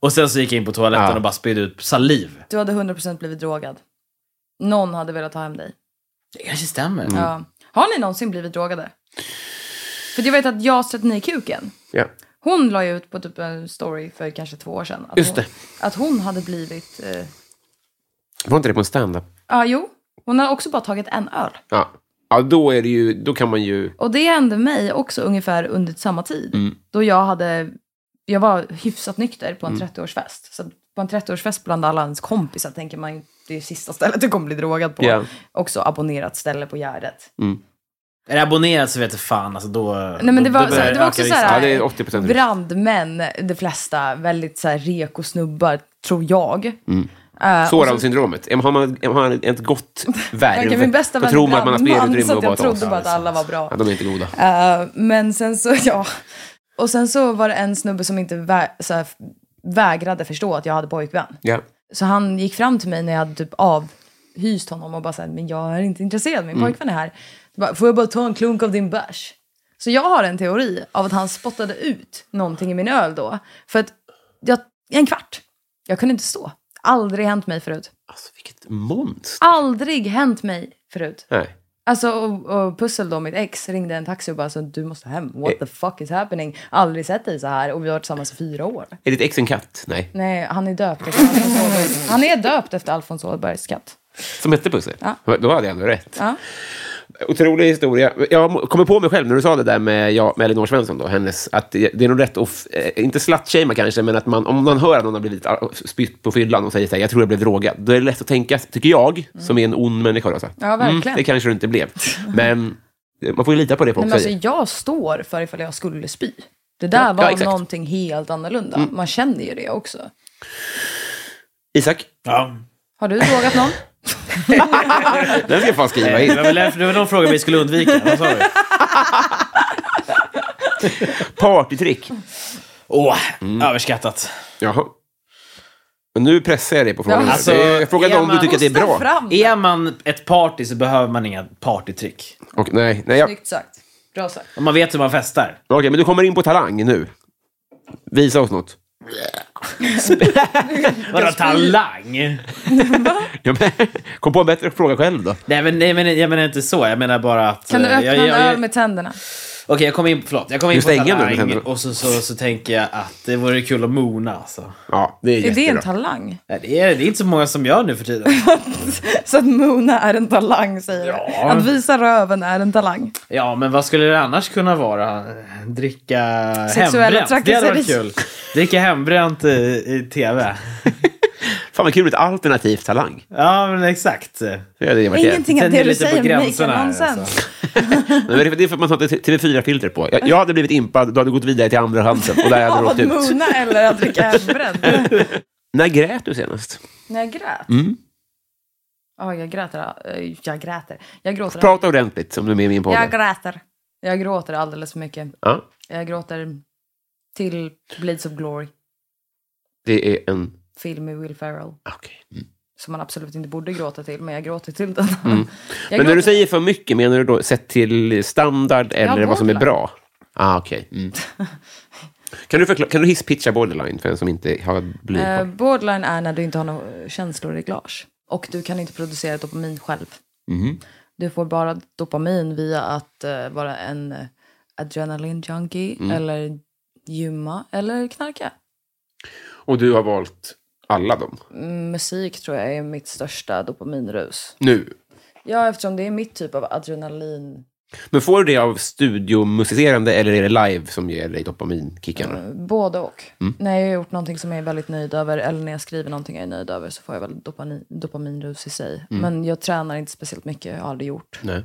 S4: Och sen så gick jag in på toaletten och bara spydde ut saliv.
S3: Du hade 100% blivit drogad. Någon hade velat ta hem dig.
S4: Det kanske stämmer.
S3: Ja. Har ni någonsin blivit drogade? För jag vet att jag sett ny kuken.
S2: Ja.
S3: Hon la ju ut på typ en story för kanske två år sedan. Att
S2: Just det.
S3: Hon, att hon hade blivit... eh, Ja,
S2: Var inte det på en stand-up?
S3: jo. Hon har också bara tagit en öl.
S2: Ja. ja, då är det ju... Då kan man ju...
S3: Och det hände mig också ungefär under samma tid.
S2: Mm.
S3: Då jag hade... Jag var hyfsat nykter på en
S2: Mm.
S3: 30-årsfest. Så på en 30-årsfest bland alla ens kompisar tänker man ju det är sista stället du kommer bli drogad på.
S2: Ja.
S3: Också abonnerat ställe på Gärdet.
S4: Är det abonnerat så vet jag fan. Alltså då,
S3: Nej, men det
S4: då-
S3: var,
S4: då
S3: så
S4: börjar
S3: det var
S4: öka
S3: också så
S4: risken.
S3: här,
S2: Ja, det är 80% risk.
S3: brandmän, de flesta, väldigt så här reko snubbar, tror jag.
S2: Mm.
S3: Eh, och så-
S2: Soran-syndromet. Har man, har man ett gott värv,
S3: Verkar min bästa
S2: då
S3: vän
S2: tror man att man har
S3: brandman,
S2: mer utrymme
S3: så att
S2: att vara
S3: jag
S2: ett
S3: trodde
S2: as.
S3: bara att alla var bra.
S2: Ja, de är inte goda.
S3: Eh, men sen så, ja. Och sen så var det en snubbe som inte vä- så här, vägrade förstå att jag hade pojkvän.
S2: Ja.
S3: Så han gick fram till mig när jag hade typ avhyst honom och bara såhär, men jag är inte intresserad, min pojkvän är här. Så Bara, Får jag bara ta en klunk av din bärs? Så jag har en teori av att han spottade ut någonting i min öl då. För att jag, i en kvart, jag kunde inte stå. Aldrig hänt mig förut.
S2: Alltså, vilket monster.
S3: Aldrig hänt mig förut.
S2: Nej.
S3: Alltså, och, och Pussel då, mitt ex, ringde en taxi och bara så du måste hem.
S2: Eh.
S3: What the fuck is happening? Aldrig sett dig så här och vi har varit tillsammans i fyra år.
S2: Är ditt ex en katt? Nej.
S3: Nej, han är döpt efter Alfons Åberg. Han är döpt efter Alfons Åbergs katt.
S2: Som hette Pusse? Ja. Då hade jag ändå rätt.
S3: Ja.
S2: Otrolig historia. Jag må- kommer på mig själv när du sa det där med, ja, med Elinor Svensson, då, hennes, att det det är nog rätt att, f- eh, inte slutshamea kanske, men att man, om man hör att någon har blivit ah, spytt på fyllan och säger så här, jag tror jag blev drogad, då är det lätt att tänka, tycker jag, som är en ond människa, då, så här,
S3: Mm. Ja, verkligen.
S2: Mm, det kanske du inte blev. Men eh, man får ju lita på det folk
S3: Nej, men alltså,
S2: säger.
S3: jag står för ifall jag skulle spy. Det där
S2: Ja,
S3: var
S2: exakt. Mm.
S3: någonting helt annorlunda. Man känner ju det också.
S2: Isak,
S4: Ja,
S3: Har du frågat någon?
S2: den ska jag fan skriva
S4: Nej,
S2: in.
S4: Eh, det var väl därför- det var någon fråga vi skulle undvika. Vad sa vi?
S2: Partytrick.
S4: Åh, mm. överskattat.
S2: Jaha. Men nu pressar jag dig på frågan.
S4: Alltså,
S2: Det är- jag frågade
S4: är
S2: om du
S4: man-
S2: tycker att det är bra.
S3: Hosta fram.
S4: Är man ett party så behöver man inga partytrick.
S2: Och, nej, nej, jag,
S3: Snyggt sagt. Bra sagt.
S2: Alltså,
S4: Om man vet hur man festar.
S2: Okej, men du kommer in på talang nu. Visa oss något.
S4: Vadå talang?
S2: Ja, men, kom på en bättre fråga själv då.
S4: Nej men, nej, men jag menar inte så. Jag menar bara att...
S3: Kan du
S4: eh,
S3: öppna
S4: jag,
S3: en
S4: jag,
S3: öl med tänderna?
S4: Okej, jag kom in, förlåt, jag kom in
S2: Du
S4: på
S2: stänger den med
S4: talang
S2: tänderna.
S4: och så, så, så tänker jag att det vore kul att mona. Alltså.
S2: Ja, det är,
S3: Är det
S2: jättebra.
S3: en talang?
S4: Nej, Det, är, det är inte så många som gör nu för tiden.
S3: Så att Mona är en talang säger jag. Att visa röven är en talang.
S4: Ja, men vad skulle det annars kunna vara? Dricka
S3: Sexuella
S4: hembränt? Det hade varit kul.
S3: trakasserier.
S4: Dricka hembränt i, i tv.
S2: Fan vad kul med ett alternativt talang.
S4: Ja, men exakt.
S2: Det hade varit jävligt.
S3: Ingenting av
S4: Sen är
S3: det
S4: det
S3: du
S4: lite på
S3: säger make
S4: gränserna här,
S3: nonsens.
S4: alltså.
S2: Men det är för- det är för att man har ett TV4-filter på. Jag, jag hade blivit impad, du hade gått vidare till andra chansen och där hade
S3: Av
S2: du
S3: att
S2: åkt ut.
S3: mona eller att dricka hembränt.
S2: När grät du senast?
S3: När jag grät?
S2: Mm.
S3: Ja, jag gräter. eh, Jag gräter. Jag gråter.
S2: Prata ordentligt som du är med i min podd.
S3: Jag gräter. Jag gråter alldeles för mycket.
S2: Ja,
S3: Jag gråter till Blades of Glory,
S2: det är en...
S3: film med Will Ferrell.
S2: Okej.
S3: Som man absolut inte borde gråta till, men jag gråter till den. Jag
S2: Mm. Men när
S3: gråter-
S2: du säger för mycket, menar du då sett till standard eller vad som är
S3: båda.
S2: bra? Ah, okej. Mm. Kan du, förklara, kan du hisspitcha borderline för en som inte har bly?
S3: Eh, borderline är när du inte har några känslor i glas. Och du kan inte producera dopamin själv.
S2: Mhm.
S3: Du får bara dopamin via att eh, vara en eh, adrenalin junkie eller gymma eller knarka.
S2: Och du har valt alla dem
S3: Musik tror jag är mitt största dopaminrus.
S2: nu.
S3: Ja, eftersom det är mitt typ av adrenalin.
S2: Men får du det av studiomusicerande eller är det live som ger dig dopaminkicken?
S3: Ehm. Både och. När jag har gjort någonting som jag är väldigt nöjd över eller när jag skriver någonting jag är nöjd över så får jag väl dopani- dopaminrus i sig. Men jag tränar inte speciellt mycket, jag har aldrig gjort.
S2: Nej.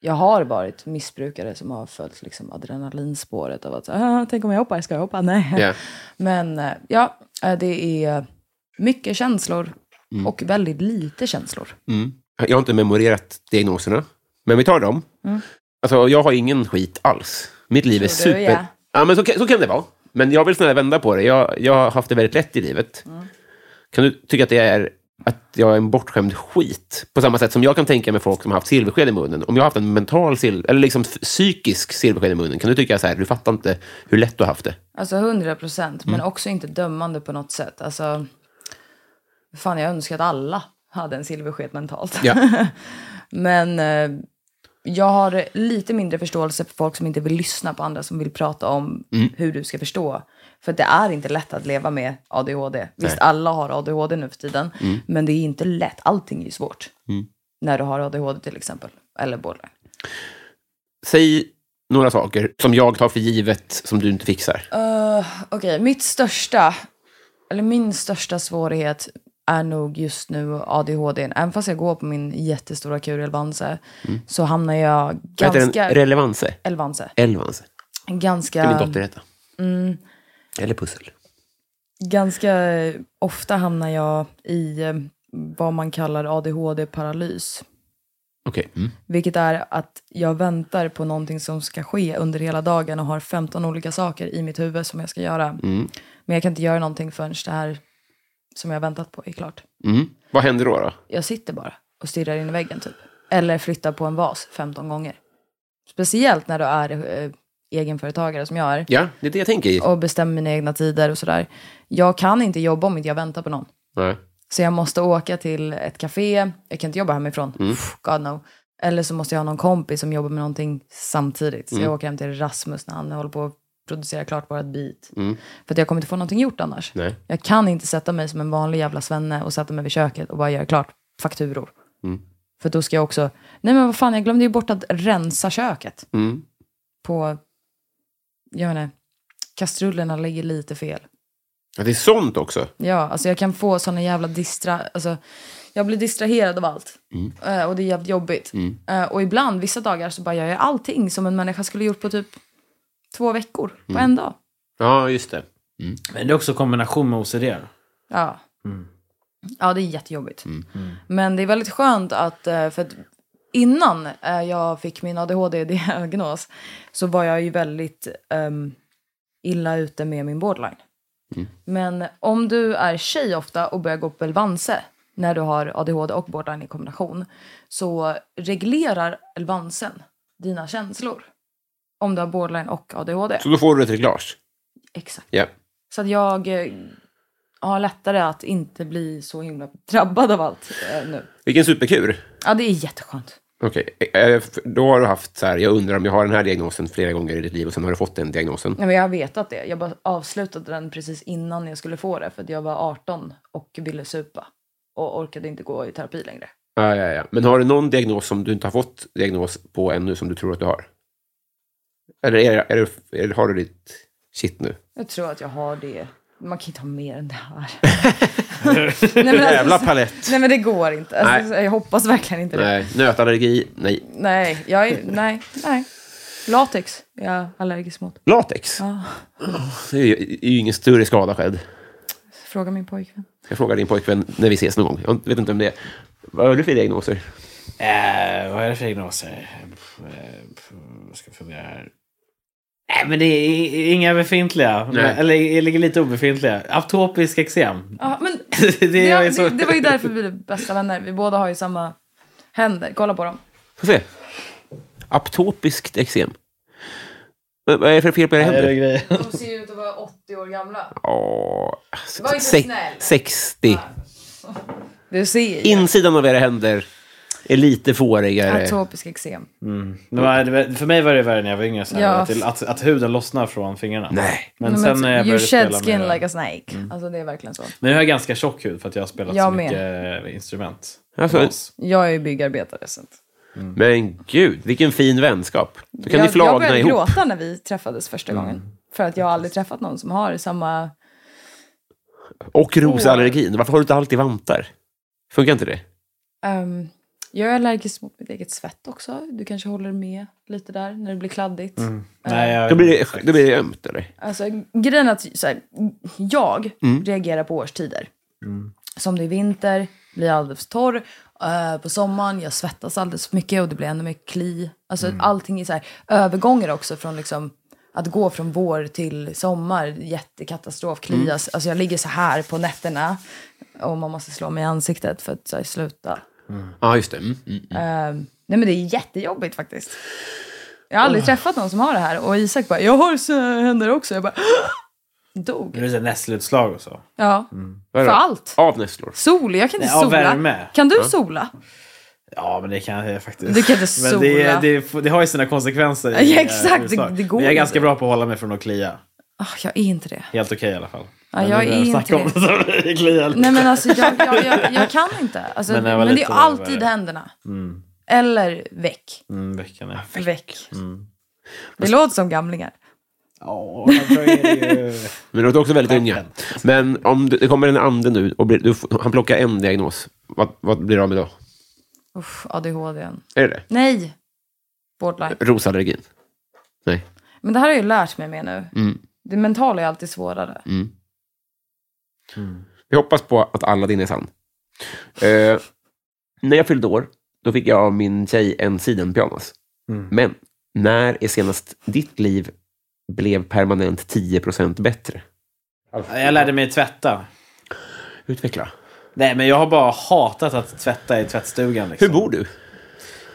S3: Jag har varit missbrukare som har följt liksom adrenalinspåret av att så här, ah, tänk om jag hoppar, ska jag hoppa? Nej.
S2: Ja.
S3: Men eh, ja, eh, det är mycket känslor och väldigt lite känslor.
S2: Jag har inte memorerat diagnoserna, men vi tar dem. Alltså, jag har ingen skit alls. Mitt liv är
S3: Mm. Tror du,
S2: super...
S3: ja.
S2: ja, men så, kan- så kan det vara. Men jag vill snarare vända på det. Jag, jag har haft det väldigt lätt i livet.
S3: Mm.
S2: Kan du tycka att det är att jag är en bortskämd skit? På samma sätt som jag kan tänka mig folk som har haft silversked i munnen. Om jag har haft en mental sil eller liksom f- psykisk silversked i munnen, kan du tycka så här, du fattar inte hur lätt du har haft det?
S3: Alltså 100 procent, men också inte dömande på något sätt. Alltså, fan jag önskar att alla hade en silversked mentalt.
S2: Ja.
S3: men eh, jag har lite mindre förståelse för folk som inte vill lyssna på andra som vill prata om hur du ska förstå. För det är inte lätt att leva med ADHD. Visst, alla har ADHD nu för tiden, men det är inte lätt. Allting är ju svårt. När du har ADHD till exempel, eller borderline.
S2: Säg några saker som jag tar för givet, som du inte fixar.
S3: Eh, Okej, mitt största, eller min största svårighet är nog just nu ADHD. Även fast jag går på min jättestora kur Elvanse så hamnar jag
S2: Mm. Vad heter
S3: ganska...
S2: den? Relevanse?
S3: Elvanse.
S2: Elvanse?
S3: Ganska...
S2: ska min dotter heta. Ehm, mm. Eller pussel.
S3: Ganska ofta hamnar jag i eh, vad man kallar ADHD-paralys.
S2: Okej. Mm.
S3: Vilket är att jag väntar på någonting som ska ske under hela dagen och har 15 olika saker i mitt huvud som jag ska göra.
S2: Mm.
S3: Men jag kan inte göra någonting förrän det här som jag väntat på är klart.
S2: Mm. Vad händer då? då?
S3: Jag sitter bara och stirrar in i väggen typ. Eller flyttar på en vas 15 gånger. Speciellt när du är eh, egenföretagare som jag är
S2: Ja, det är det jag tänker i.
S3: och bestämmer mina egna tider och sådär. Jag kan inte jobba om inte jag väntar på någon.
S2: Nej.
S3: Så jag måste åka till ett café. Jag kan inte jobba hemifrån.
S2: Mm.
S3: Pff, God no. Eller så måste jag ha någon kompis som jobbar med någonting samtidigt. Så
S2: Mm.
S3: jag åker hem till Rasmus när han håller på att producera klart vårt beat. För att jag kommer inte få någonting gjort annars.
S2: Mm. Nej.
S3: Jag kan inte sätta mig som en vanlig jävla svenne och sätta mig vid köket och bara göra klart fakturor.
S2: Mm.
S3: För då ska jag också... Nej men vad fan, jag glömde ju bort att rensa köket.
S2: Mm.
S3: På... Jag menar, kastrullerna ligger lite fel.
S2: Ja, det är sånt också.
S3: Ja, alltså jag kan få såna jävla distra... Alltså, jag blir distraherad av allt. Eh, och det är jävligt jobbigt. Eh, och ibland, vissa dagar, så bara gör jag allting som en människa skulle gjort på typ två veckor. På en dag.
S2: Ja, just det.
S4: Men det är också kombination med OCD.
S3: Ja. Ja, det är jättejobbigt. Men det är väldigt skönt att, eh, för att innan eh, jag fick min ADHD-diagnos så var jag ju väldigt ehm, illa ute med min borderline. Men om du är tjej ofta och börjar gå på Elvanse när du har ADHD och borderline i kombination så reglerar Elvansen dina känslor. Om du har borderline och ADHD.
S2: Så då får du ett reglage.
S3: Exakt.
S2: Ja.
S3: Så att jag eh, har lättare att inte bli så himla drabbad av allt eh, nu.
S2: Vilken superkur.
S3: Ja, det är jätteskönt.
S2: Okej, eh, f- då har du haft så här, jag undrar om jag har den här diagnosen flera gånger i ditt liv och sen har du fått den diagnosen.
S3: Nej, men jag har vetat det. Jag bara avslutade den precis innan jag skulle få det för att jag var 18 och ville supa och orkade inte gå i terapi längre.
S2: Ja, ja, ja. Men har du någon diagnos som du inte har fått diagnos på ännu som du tror att du har? Eller är, är, du- eller har du ditt shit nu?
S3: Jag tror att jag har det. Man kan inte ha mer än det här. nej, men alltså,
S2: Jävla palett.
S3: nej, men det går inte. Alltså, jag hoppas verkligen inte det. Nej,
S2: Nej, nötallergi? Nej.
S3: nej, jag är, nej, nej. Latex är jag allergisk mot.
S2: Latex?
S3: Ja.
S2: Det är ju, det är ju ingen större skada skedd.
S3: Fråga min pojkvän.
S2: Jag frågar din pojkvän när vi ses någon gång. Jag vet inte om det är. Vad har du för diagnoser?
S4: Eh, vad är det för diagnoser? Eh, jag ska fundera här. Nej, men det är inga befintliga. Men, eller det ligger lite obefintliga. Atopisk eksem.
S3: Ja, men
S4: det,
S3: Det,
S4: är
S3: det,
S4: så-
S3: det var ju därför vi blev bästa vänner. Vi båda har ju samma händer. Kolla på dem.
S2: Får se. Aptopiskt eksem. Men Vad är det för fel på era
S4: Det är
S2: händer?
S4: grejer.
S3: De ser ut att vara var 80 år gamla.
S2: Åh,
S3: var inte
S2: se-
S3: snäll.
S2: 60.
S3: Du ser ju.
S2: Insidan av era händer är lite fårigare.
S3: Atopisk eksem.
S4: Det var, det var- för mig var det värre när jag var yngre, så här,
S3: Ja.
S4: att, till- att, att huden lossnar från fingrarna.
S2: Nej.
S4: Men
S3: Nej,
S4: sen när jag
S3: you
S4: började
S3: shed
S4: spela
S3: skin
S4: med... Mm.
S3: like a snake. Alltså det är verkligen så.
S4: Men jag har ganska tjock hud för att jag har spelat så
S3: Jag med.
S4: mycket eh, instrument.
S2: Alltså,
S4: Bas.
S3: Jag är ju byggarbetare. Så att...
S2: Men gud, vilken fin vänskap. Då kan
S3: jag,
S2: ni flagna
S3: började
S2: ihop.
S3: gråta när vi träffades första
S4: Mm.
S3: gången. För att jag har aldrig träffat någon som har samma...
S2: Och rosallergin. Varför har du inte alltid vantar? Funkar inte det?
S3: Ehm, jag är allergisk mot mitt eget svett också. Du kanske håller med lite där när det blir kladdigt.
S4: Mm. Nej, jag,
S2: Då blir det, då blir det ömt, eller?
S3: Alltså, grejen är att så här, jag reagerar på årstider. Som det är vinter, blir jag alldeles torr. eh, på sommaren, jag svettas alldeles för mycket och det blir ännu mer kli. Alltså, Allting är så här, övergångar också från liksom, att gå från vår till sommar, jättekatastrof, klias. Alltså jag ligger så här på nätterna och man måste slå mig i ansiktet för att så här, sluta.
S2: Ja, just det. Mm. Mm.
S3: Ehm, Nej men det är jättejobbigt faktiskt. Jag har aldrig träffat någon som har det här och Isak bara, jag har så här händer också. Jag bara, dog.
S4: Nu är det så här nässelutslag och så.
S3: Ja,
S2: Vad är det?
S3: för allt.
S2: Avnässlor.
S3: Sol, jag kan inte
S4: Mm. Ja,
S3: sola.
S4: värme.
S3: Kan du sola?
S4: Ja, men det kan jag faktiskt.
S3: Du kan inte
S4: Men det,
S3: sola.
S4: det, får- det har ju sina konsekvenser. i,
S3: Ja,
S4: eh,
S3: exakt. Det-
S4: USA.
S3: det går
S4: Men jag
S3: inte.
S4: är ganska bra på att hålla mig från att klia.
S3: Ah, jag är inte det.
S4: Helt okej i alla fall.
S3: Ja, jag är inte
S4: det.
S3: det.
S4: så blir det klia lite.
S3: Nej men alltså jag, jag, jag, jag kan inte. Alltså,
S4: Men
S3: men
S4: när jag var
S3: det
S4: liten
S3: är
S4: var det
S3: alltid
S4: värre.
S3: händerna. Eller väck.
S4: Mm, veckan är... Mm.
S3: Väck. Det låter som gamlingar.
S4: Åh, jag tror det är ju...
S2: Men de är också väldigt unga. Men om du, det kommer en ande nu och blir, du, får- han plockar en diagnos, vad, vad blir det av med då?
S3: Uff, ADHD. n.
S2: Är det det?
S3: Nej! Borderline.
S2: Rosallergin? Nej.
S3: Men det här har jag ju lärt mig med nu.
S2: Mm.
S3: Det mentala är alltid svårare.
S2: Mm.
S4: Mm.
S2: Vi hoppas på att Aladdin är sann. Eh, när jag fyllde år, då fick jag av min tjej en sidenpyjamas.
S4: Mm.
S2: Men när är senast ditt liv blev permanent 10 bättre?
S4: Jag lärde mig tvätta.
S2: Utveckla.
S4: Nej, men jag har bara hatat att tvätta i tvättstugan. Liksom.
S2: Hur bor du?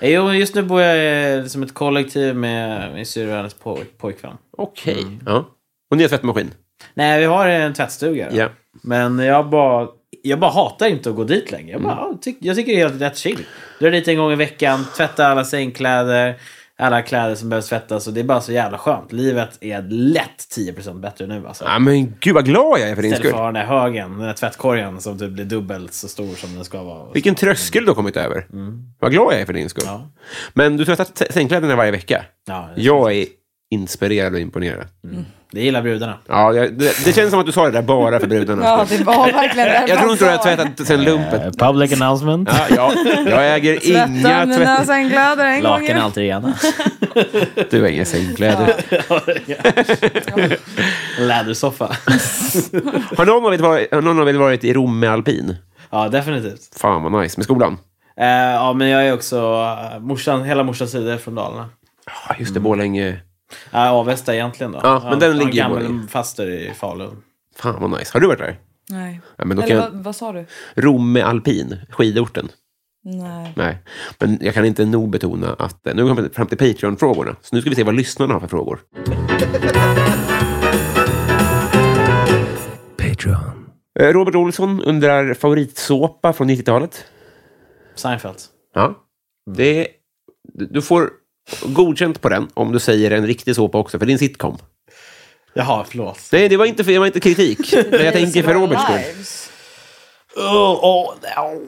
S4: Jo, just nu bor jag eh, som ett kollektiv med min syrra och hennes poj- pojkvän.
S2: Okej. Ja. Och ni har tvättmaskin?
S4: Nej, vi har en tvättstuga. då.
S2: Ja.
S4: Men jag bara, jag bara hatar inte att gå dit längre. Jag, bara,
S2: Mm.
S4: ja, tyck, jag tycker det är helt rätt chill. Dra dit en gång i veckan, tvätta alla sängkläder, alla kläder som behövs tvättas. Och det är bara så jävla skönt. Livet är lätt 10% bättre nu. Alltså.
S2: Ja, men gud vad glad jag är för din
S4: Istället för att
S2: skull.
S4: ha den där högen, den där tvättkorgen som typ blir dubbelt så stor som den ska vara.
S2: Vilken tröskel du har kommit över. Vad glad jag är för din skull.
S4: Mm. Ja.
S2: Men du tvättar t- sängkläderna varje vecka.
S4: Ja, det-
S2: Jag är inspirerad och imponerad.
S4: Det gillar brudarna.
S2: Ja, jag, det, det känns som att du sa det där bara för brudarnas
S3: Ja,
S2: skull.
S3: det var verkligen det.
S2: Jag tror inte du har
S3: sa.
S2: tvättat sen lumpen.
S4: Eh, Public announcement.
S2: Ja, ja, jag äger
S3: Tvätta
S2: inga
S3: mina
S2: tvätt...
S3: sängkläder en gång i
S4: Laken är alltid rena.
S2: Du har inga sängkläder.
S4: Lädersoffa.
S2: Har någon av er varit, har någon av er varit i Rom med alpin?
S4: Ja, definitivt.
S2: Fan vad nice. Med skolan?
S4: Eh, ja, men jag är också... eh, morsan, hela morsans sida är från Dalarna.
S2: Ja, just det.
S4: Mm.
S2: Borlänge.
S4: Ja, Avesta egentligen då.
S2: Ja, men den ligger i
S4: gammal
S2: Borlänge.
S4: faster i Falun.
S2: Fan vad nice. Har du varit där?
S3: Nej.
S2: Ja, men då kan
S3: Eller
S2: jag...
S3: vad, vad sa du?
S2: Rom med alpin, skidorten.
S3: Nej.
S2: Nej, men jag kan inte nog betona att eh, nu kommer vi fram till Patreon-frågorna. Så nu ska vi se vad lyssnarna har för frågor.
S7: Patreon.
S2: Eh, Robert Olsson undrar favoritsåpa från 90-talet.
S4: Seinfeld.
S2: Ja, det Du får godkänt på den om du säger en riktig såpa också, för det är en sitcom.
S4: Jaha, förlåt.
S2: Nej, det var inte, det var inte kritik. Men jag tänker för Roberts skull.
S4: Oh, oh, oh.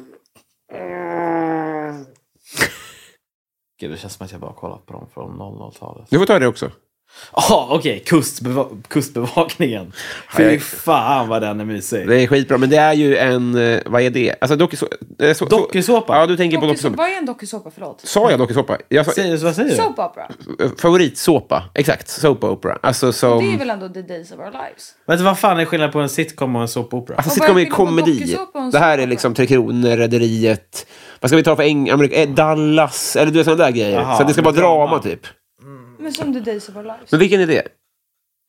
S4: Gud, det känns som att jag bara har kollat på dem från 00-talet.
S2: Du får ta det också.
S4: Ja, okej. Kustbeva- kustbevakningen. Fy
S2: Nej.
S4: fan vad den är mysig.
S2: Det är skitbra, men det är ju en... eh, Vad är det? Alltså dokuså... eh, så-
S4: Dokusåpa?
S2: Ja, du tänker på
S3: Dokusåpa.
S2: dokusåpa.
S3: Vad är en dokusåpa? Förlåt.
S2: Sa jag dokusåpa? Jag sa,
S4: Säg- Vad säger du?
S3: Soap opera.
S2: eh, favoritsåpa. Exakt, soap opera. Alltså som...
S3: Det är väl ändå the days of our lives?
S4: Vänta, vad fan är skillnaden på en sitcom och en såpopera?
S2: Alltså
S3: Och
S2: sitcom
S3: vad
S2: är
S3: är skillnaden på
S2: komedi.
S3: dokusåpa och en
S2: Det här är
S3: såpa?
S2: liksom Tre Kronor, Rederiet. Vad ska vi ta för Eng- Amerika? eh, Dallas? Eller du vet sådana där grejer.
S4: Jaha,
S2: så att det ska vara
S4: med
S2: drama,
S4: drama.
S2: typ.
S3: Men som the days of our lives.
S2: Men vilken är det?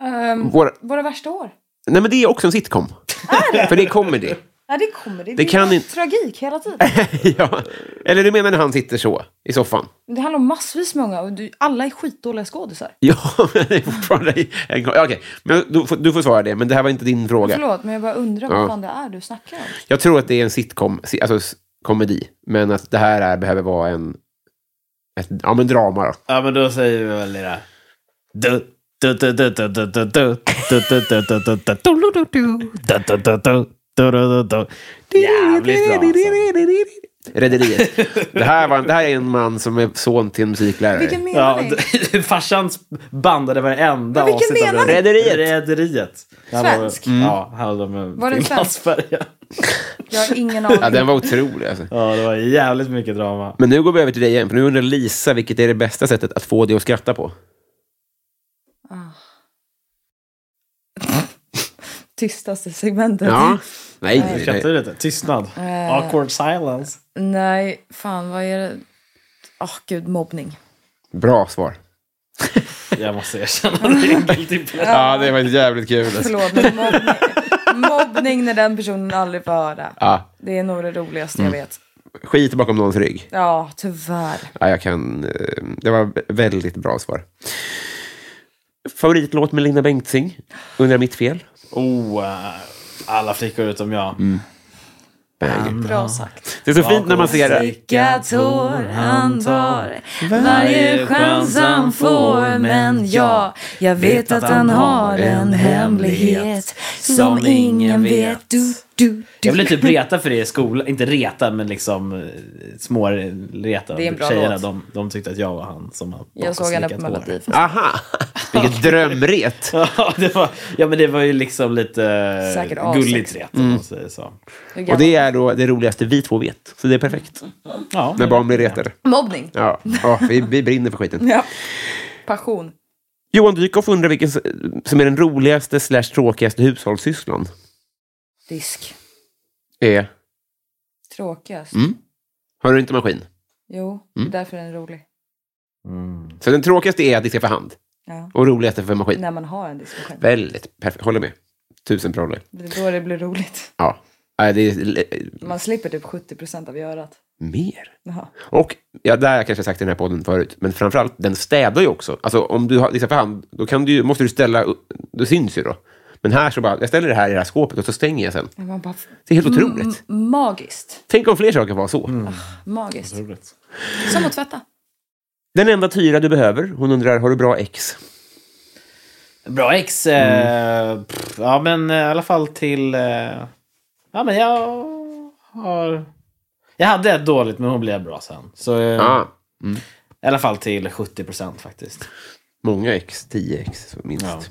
S3: Ehm,
S2: Våra...
S3: våra värsta år.
S2: Nej men det är också en sitcom. för det är comedy.
S3: Nej, det kommer det.
S2: Det kan
S3: är
S2: inte-
S3: tragik hela tiden.
S2: ja. Eller du menar när han sitter så i soffan?
S3: Det handlar om massvis med unga och du, alla är skitdåliga skådisar.
S2: Ja, men det är fortfarande... en- Okej, men du, får- du får svara det. Men det här var inte din fråga.
S3: Förlåt, men jag bara undrar
S2: Ja.
S3: vad fan det är du snackar om.
S2: Jag tror att det är en sitcom, si- alltså s- komedi. Men att det här är, behöver vara en... Ett, ja, men drama då.
S4: Ja, men då säger vi väl det där. Du, du, du, du, du, du, du, du, du, du, du, du, du, du, du, du, du, du, du, du, du, du, du. Jävligt bra alltså.
S2: Rederiet. det, här var, det här är en man som är son till en musiklärare.
S3: Vilken menar
S4: Ja,
S3: ni?
S4: d- farsan bandade varenda
S3: Men vilken menar
S4: av
S3: ni?
S4: Rederiet. Rederiet. Han var-
S3: Svensk?
S4: Ja, han hade med
S3: Var den
S4: Finlandsfärja.
S3: Jag har ingen
S2: Ja,
S3: aning.
S2: den var otrolig. Alltså.
S4: Ja, det var jävligt mycket drama.
S2: Men nu går vi över till dig igen, för nu undrar Lisa vilket är det bästa sättet att få dig att skratta på.
S3: Tystaste segmentet.
S2: Ja. Nej, nej,
S4: Skrattar
S2: nej.
S4: du lite? Tystnad. Awkward silence.
S3: Nej, fan vad är det? Åh gud, mobbning.
S2: Bra svar.
S4: Jag måste erkänna, det är en guilty pleasure.
S2: Ja, det var jävligt kul. alltså.
S3: Förlåt, men mobbning, mobbning när den personen aldrig får höra.
S2: Ja,
S3: Det är nog det roligaste jag vet.
S2: skit bakom någons rygg.
S3: Ja, tyvärr.
S2: Ja, jag kan, eh, det var väldigt bra svar. Favoritlåt med Linda Bengtzing? Undrar mitt fel?
S4: Oh, eh, alla flickor utom jag.
S3: Bra sagt.
S2: Det är så fint när man ser det.
S3: Mm. Vilka tår han tar varje chans han får Men ja, jag vet att han har en hemlighet som ingen vet du, du,
S4: Jag
S3: du.
S4: ville typ reta för det i skolan. Inte reta, men liksom eh, småreta.
S3: Det är en bra
S4: Tjejerna,
S3: låt.
S4: de, de tyckte att jag var han som har
S3: Jag såg henne på
S4: bakslickat hår.
S3: Melodifestivalen.
S2: Aha! Vilket drömret.
S4: Ja, det var, ja, men det var ju liksom lite eh,
S3: Säkert avsikt.
S4: gulligt ret, om man säger så.
S2: Och det är då det roligaste vi två vet. Så det är perfekt.
S4: Ja,
S2: Mm. När barn blir retade.
S3: Mobbning.
S2: Ja, ja vi, vi brinner för skiten.
S3: Ja. Passion.
S2: Johan Dykhoff undrar vilken s- som är den roligaste slash tråkigaste hushållssysslan.
S3: Disk.
S2: Är...
S3: Tråkigast.
S2: Har du inte maskin?
S3: Jo, det är därför den är rolig.
S2: Så den tråkigaste är att diska för hand.
S3: Ja.
S2: Och roligaste för maskin.
S3: När man har en diskmaskin.
S2: Väldigt perfekt. Håller med. Tusen proller.
S3: Det är då det blir roligt.
S2: Ja. Nej, det är l- eh,
S3: Man slipper typ 70% av görat.
S2: mer.
S3: Jaha.
S2: Och, ja, det har jag kanske sagt i den här podden förut, men framförallt, den städar ju också. Alltså om du har diskar för hand, då kan du, ju- måste du ställa, upp- då syns ju då. Men här så bara, jag ställer det här i det här skåpet och så stänger jag sen.
S3: Men Man bara,
S2: Det är helt otroligt.
S3: magiskt.
S2: Tänk om fler saker var så.
S3: Magiskt.
S4: Otroligt.
S3: Som att tvätta.
S2: Den enda tyra du behöver, hon undrar, har du bra ex?
S4: Bra ex. Eh, pff, ja, men eh, i alla fall till... Eh, ja, men jag har... Jag hade ett dåligt, men hon blev bra sen. Så eh,
S2: Ja,
S4: i alla fall till 70 procent faktiskt.
S2: många ex, tio ex så minst.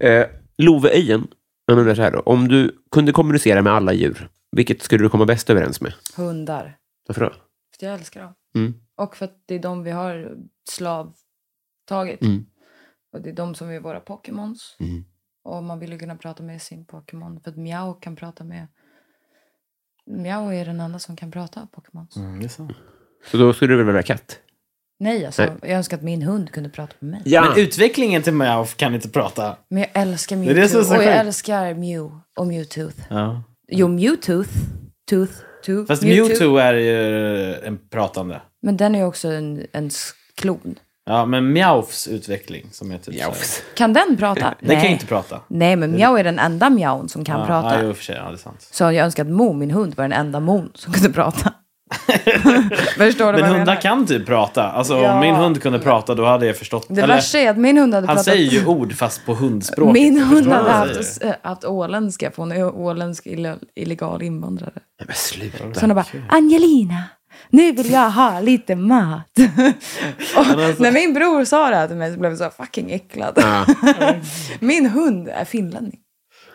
S2: Eh, Love Öjen, han undrar så här då, om du kunde kommunicera med alla djur, vilket skulle du komma bäst överens med?
S3: Hundar.
S2: Varför då?
S3: För jag älskar dem.
S2: Mm.
S3: Och för att det är de vi har slavtagit.
S2: Mm.
S3: Och det är de som är våra Pokémons.
S2: Mm.
S3: Och man vill ju kunna prata med sin Pokémon. För att Miao kan prata med... Miao är den enda som kan prata av Pokémons.
S4: Mm.
S2: Så då skulle du väl välja katt?
S3: Nej, alltså.
S2: Nej.
S3: Jag önskar att min hund kunde prata med mig.
S2: Ja.
S4: Men utvecklingen till Meow kan inte prata.
S3: Men jag älskar
S4: är
S3: Mewtwo.
S4: det som är så
S3: och jag
S4: sjukt.
S3: älskar Mew och Mewtooth.
S4: Ja.
S3: Jo, Mewtooth. Tooth. Tooth.
S4: Mm. Fast Mewtwo är ju en pratande.
S3: Men den är ju också en, en s- klon.
S4: Ja, men Meowfs utveckling som är typ så här-
S2: Jafs.
S3: Kan den prata?
S4: Den kan ju inte prata.
S3: Nej, men Miao är den enda Miaon som kan
S4: ja,
S3: prata.
S4: Ja, jo, i och för sig. Ja, det är sant.
S3: Så jag önskar att Mo, min hund, var den enda Mon som kunde prata. Förstår du
S4: Men
S3: vad jag
S4: hundar
S3: menar?
S4: kan typ prata. Alltså om
S3: Ja.
S4: min hund kunde prata då hade jag förstått.
S3: Det värsta är att min hund hade
S4: han
S3: pratat...
S4: säger ju ord fast på hundspråk.
S3: Min
S4: Jag förstår
S3: hund
S4: vad
S3: hade
S4: han
S3: haft,
S4: säger.
S3: äh, haft åländska, för hon är åländsk ille- illegal invandrare.
S2: Nej, men sluta.
S3: Så hon bara, Angelina, nu vill jag ha lite mat. och
S4: alltså-
S3: när min bror sa det här till mig så blev jag så fucking äcklad. min hund är finlänning.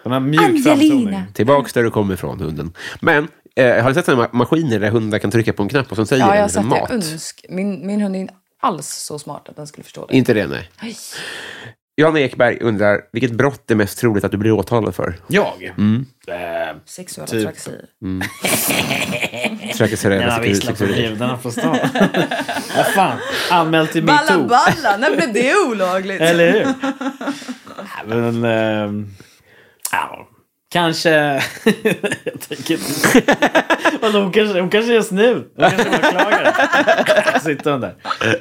S4: Den har mjuk framtoning.
S3: Angelina.
S2: Tillbaks där du kommer ifrån, hunden. Men, eh, har du sett sådana ma- maskiner där hundar kan trycka på en knapp och som säger
S3: Ja, jag
S2: den
S3: har
S2: liksom
S3: sett det.
S2: mat?
S3: Önsk. Min, min hund är inte alls så smart att den skulle förstå det.
S2: Inte det, nej.
S3: Aj.
S2: Johanna Ekberg undrar, vilket brott är mest troligt att du blir åtalad för?
S4: Jag? Eh,
S3: Sexuella
S4: Typ.
S3: trakasserier.
S2: Trakasserier
S4: Den har
S2: med
S4: visslat på
S2: sexuell-
S4: judarna på stan. Vad fan, anmäl till
S3: Balla
S4: metoo.
S3: balla, när blev det olagligt?
S4: Eller hur? Nej, Men... ehm, ja, Kanske... jag tänker inte. Vadå, hon, kanske, hon kanske är snut. Hon kanske bara klagar. Sitter hon där.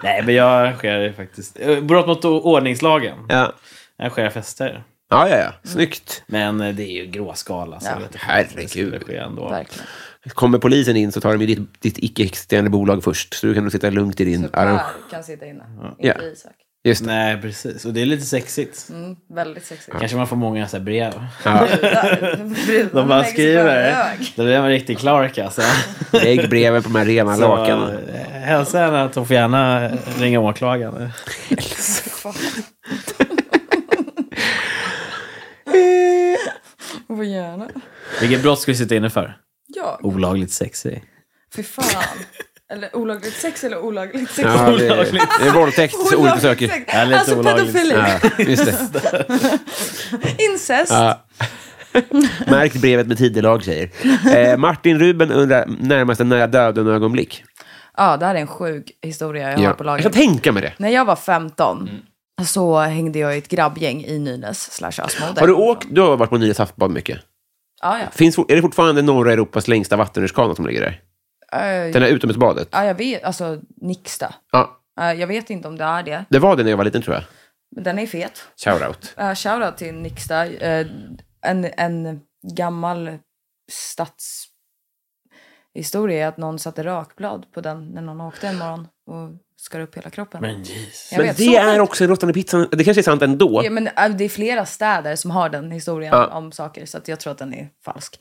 S4: Nej, men jag sker faktiskt... eh, Brott mot o- ordningslagen.
S2: Ja,
S4: Jag sker fester.
S2: ja, ja. ja. Snyggt.
S4: Men eh, det är ju gråskala. Så
S3: Ja.
S4: jag vet inte om det skulle
S2: Herregud.
S4: ske ändå.
S3: Verkligen.
S2: Kommer polisen in så tar de ju ditt, ditt icke-existerande bolag först. Så du kan nog sitta lugnt i din arrang...
S3: kan sitta inne.
S2: Ja.
S3: Inte Isak.
S2: Just det.
S4: Nej, precis. Och det är lite sexigt.
S3: Mm, väldigt sexigt.
S4: Kanske man får många så här brev.
S3: Brudar läggs
S4: De bara
S3: på en
S4: skriver.
S3: hög.
S4: Då blir man riktigt klark alltså.
S2: Lägg breven på de här rena
S4: Så,
S2: lakanen.
S4: eh, Hälsa henne att hon får gärna ringa åklagaren.
S3: Hon får gärna.
S4: Vilket brott ska vi sitta inne för?
S3: Jag?
S4: Olagligt sexig.
S3: Fy fan. Eller olagligt sex eller olagligt sex?
S2: Ja, det, det är våldtäkt,
S3: Olagligt
S2: ordförsök.
S3: sex.
S4: Ja, lite
S3: Alltså
S4: olagligt.
S3: pedofili.
S2: Ja, just det.
S3: Incest.
S2: Ja. Märkt brevet med tidelag, säger. Eh, Martin Ruben undrar närmast en nära döden-ögonblick.
S3: Ja, det här är en sjuk historia jag har på
S2: Jag Mm.
S3: lager.
S2: kan tänka mig det.
S3: När jag var 15 så hängde jag i ett grabbgäng i Nynäs slash Asmode.
S2: Har du åkt? Du har varit på Nya Saftbad mycket.
S3: Ja, ja.
S2: Finns, for- är det fortfarande norra Europas längsta vattenrutschkana som ligger där?
S3: Eh,
S2: Den här utomhusbadet?
S3: ja, jag vet. Alltså, Nixta.
S2: Ja,
S3: Eh, jag vet inte om det är det.
S2: det var det när jag var liten, tror jag.
S3: Men den är fet.
S2: Shoutout.
S3: Uh, shoutout till Nixta. Eh, en, en gammal stadshistoria är att någon satte rakblad på den när någon åkte en morgon och skar upp hela kroppen.
S4: Men jeez.
S3: jag
S2: Men
S3: vet,
S2: det
S3: så
S2: är
S3: sjukt.
S2: också en råttande pizza. Det kanske är sant ändå.
S3: Ja, men eh, det är flera städer som har den historien
S2: Ja. Mm.
S3: om saker, så att jag tror att den är falsk.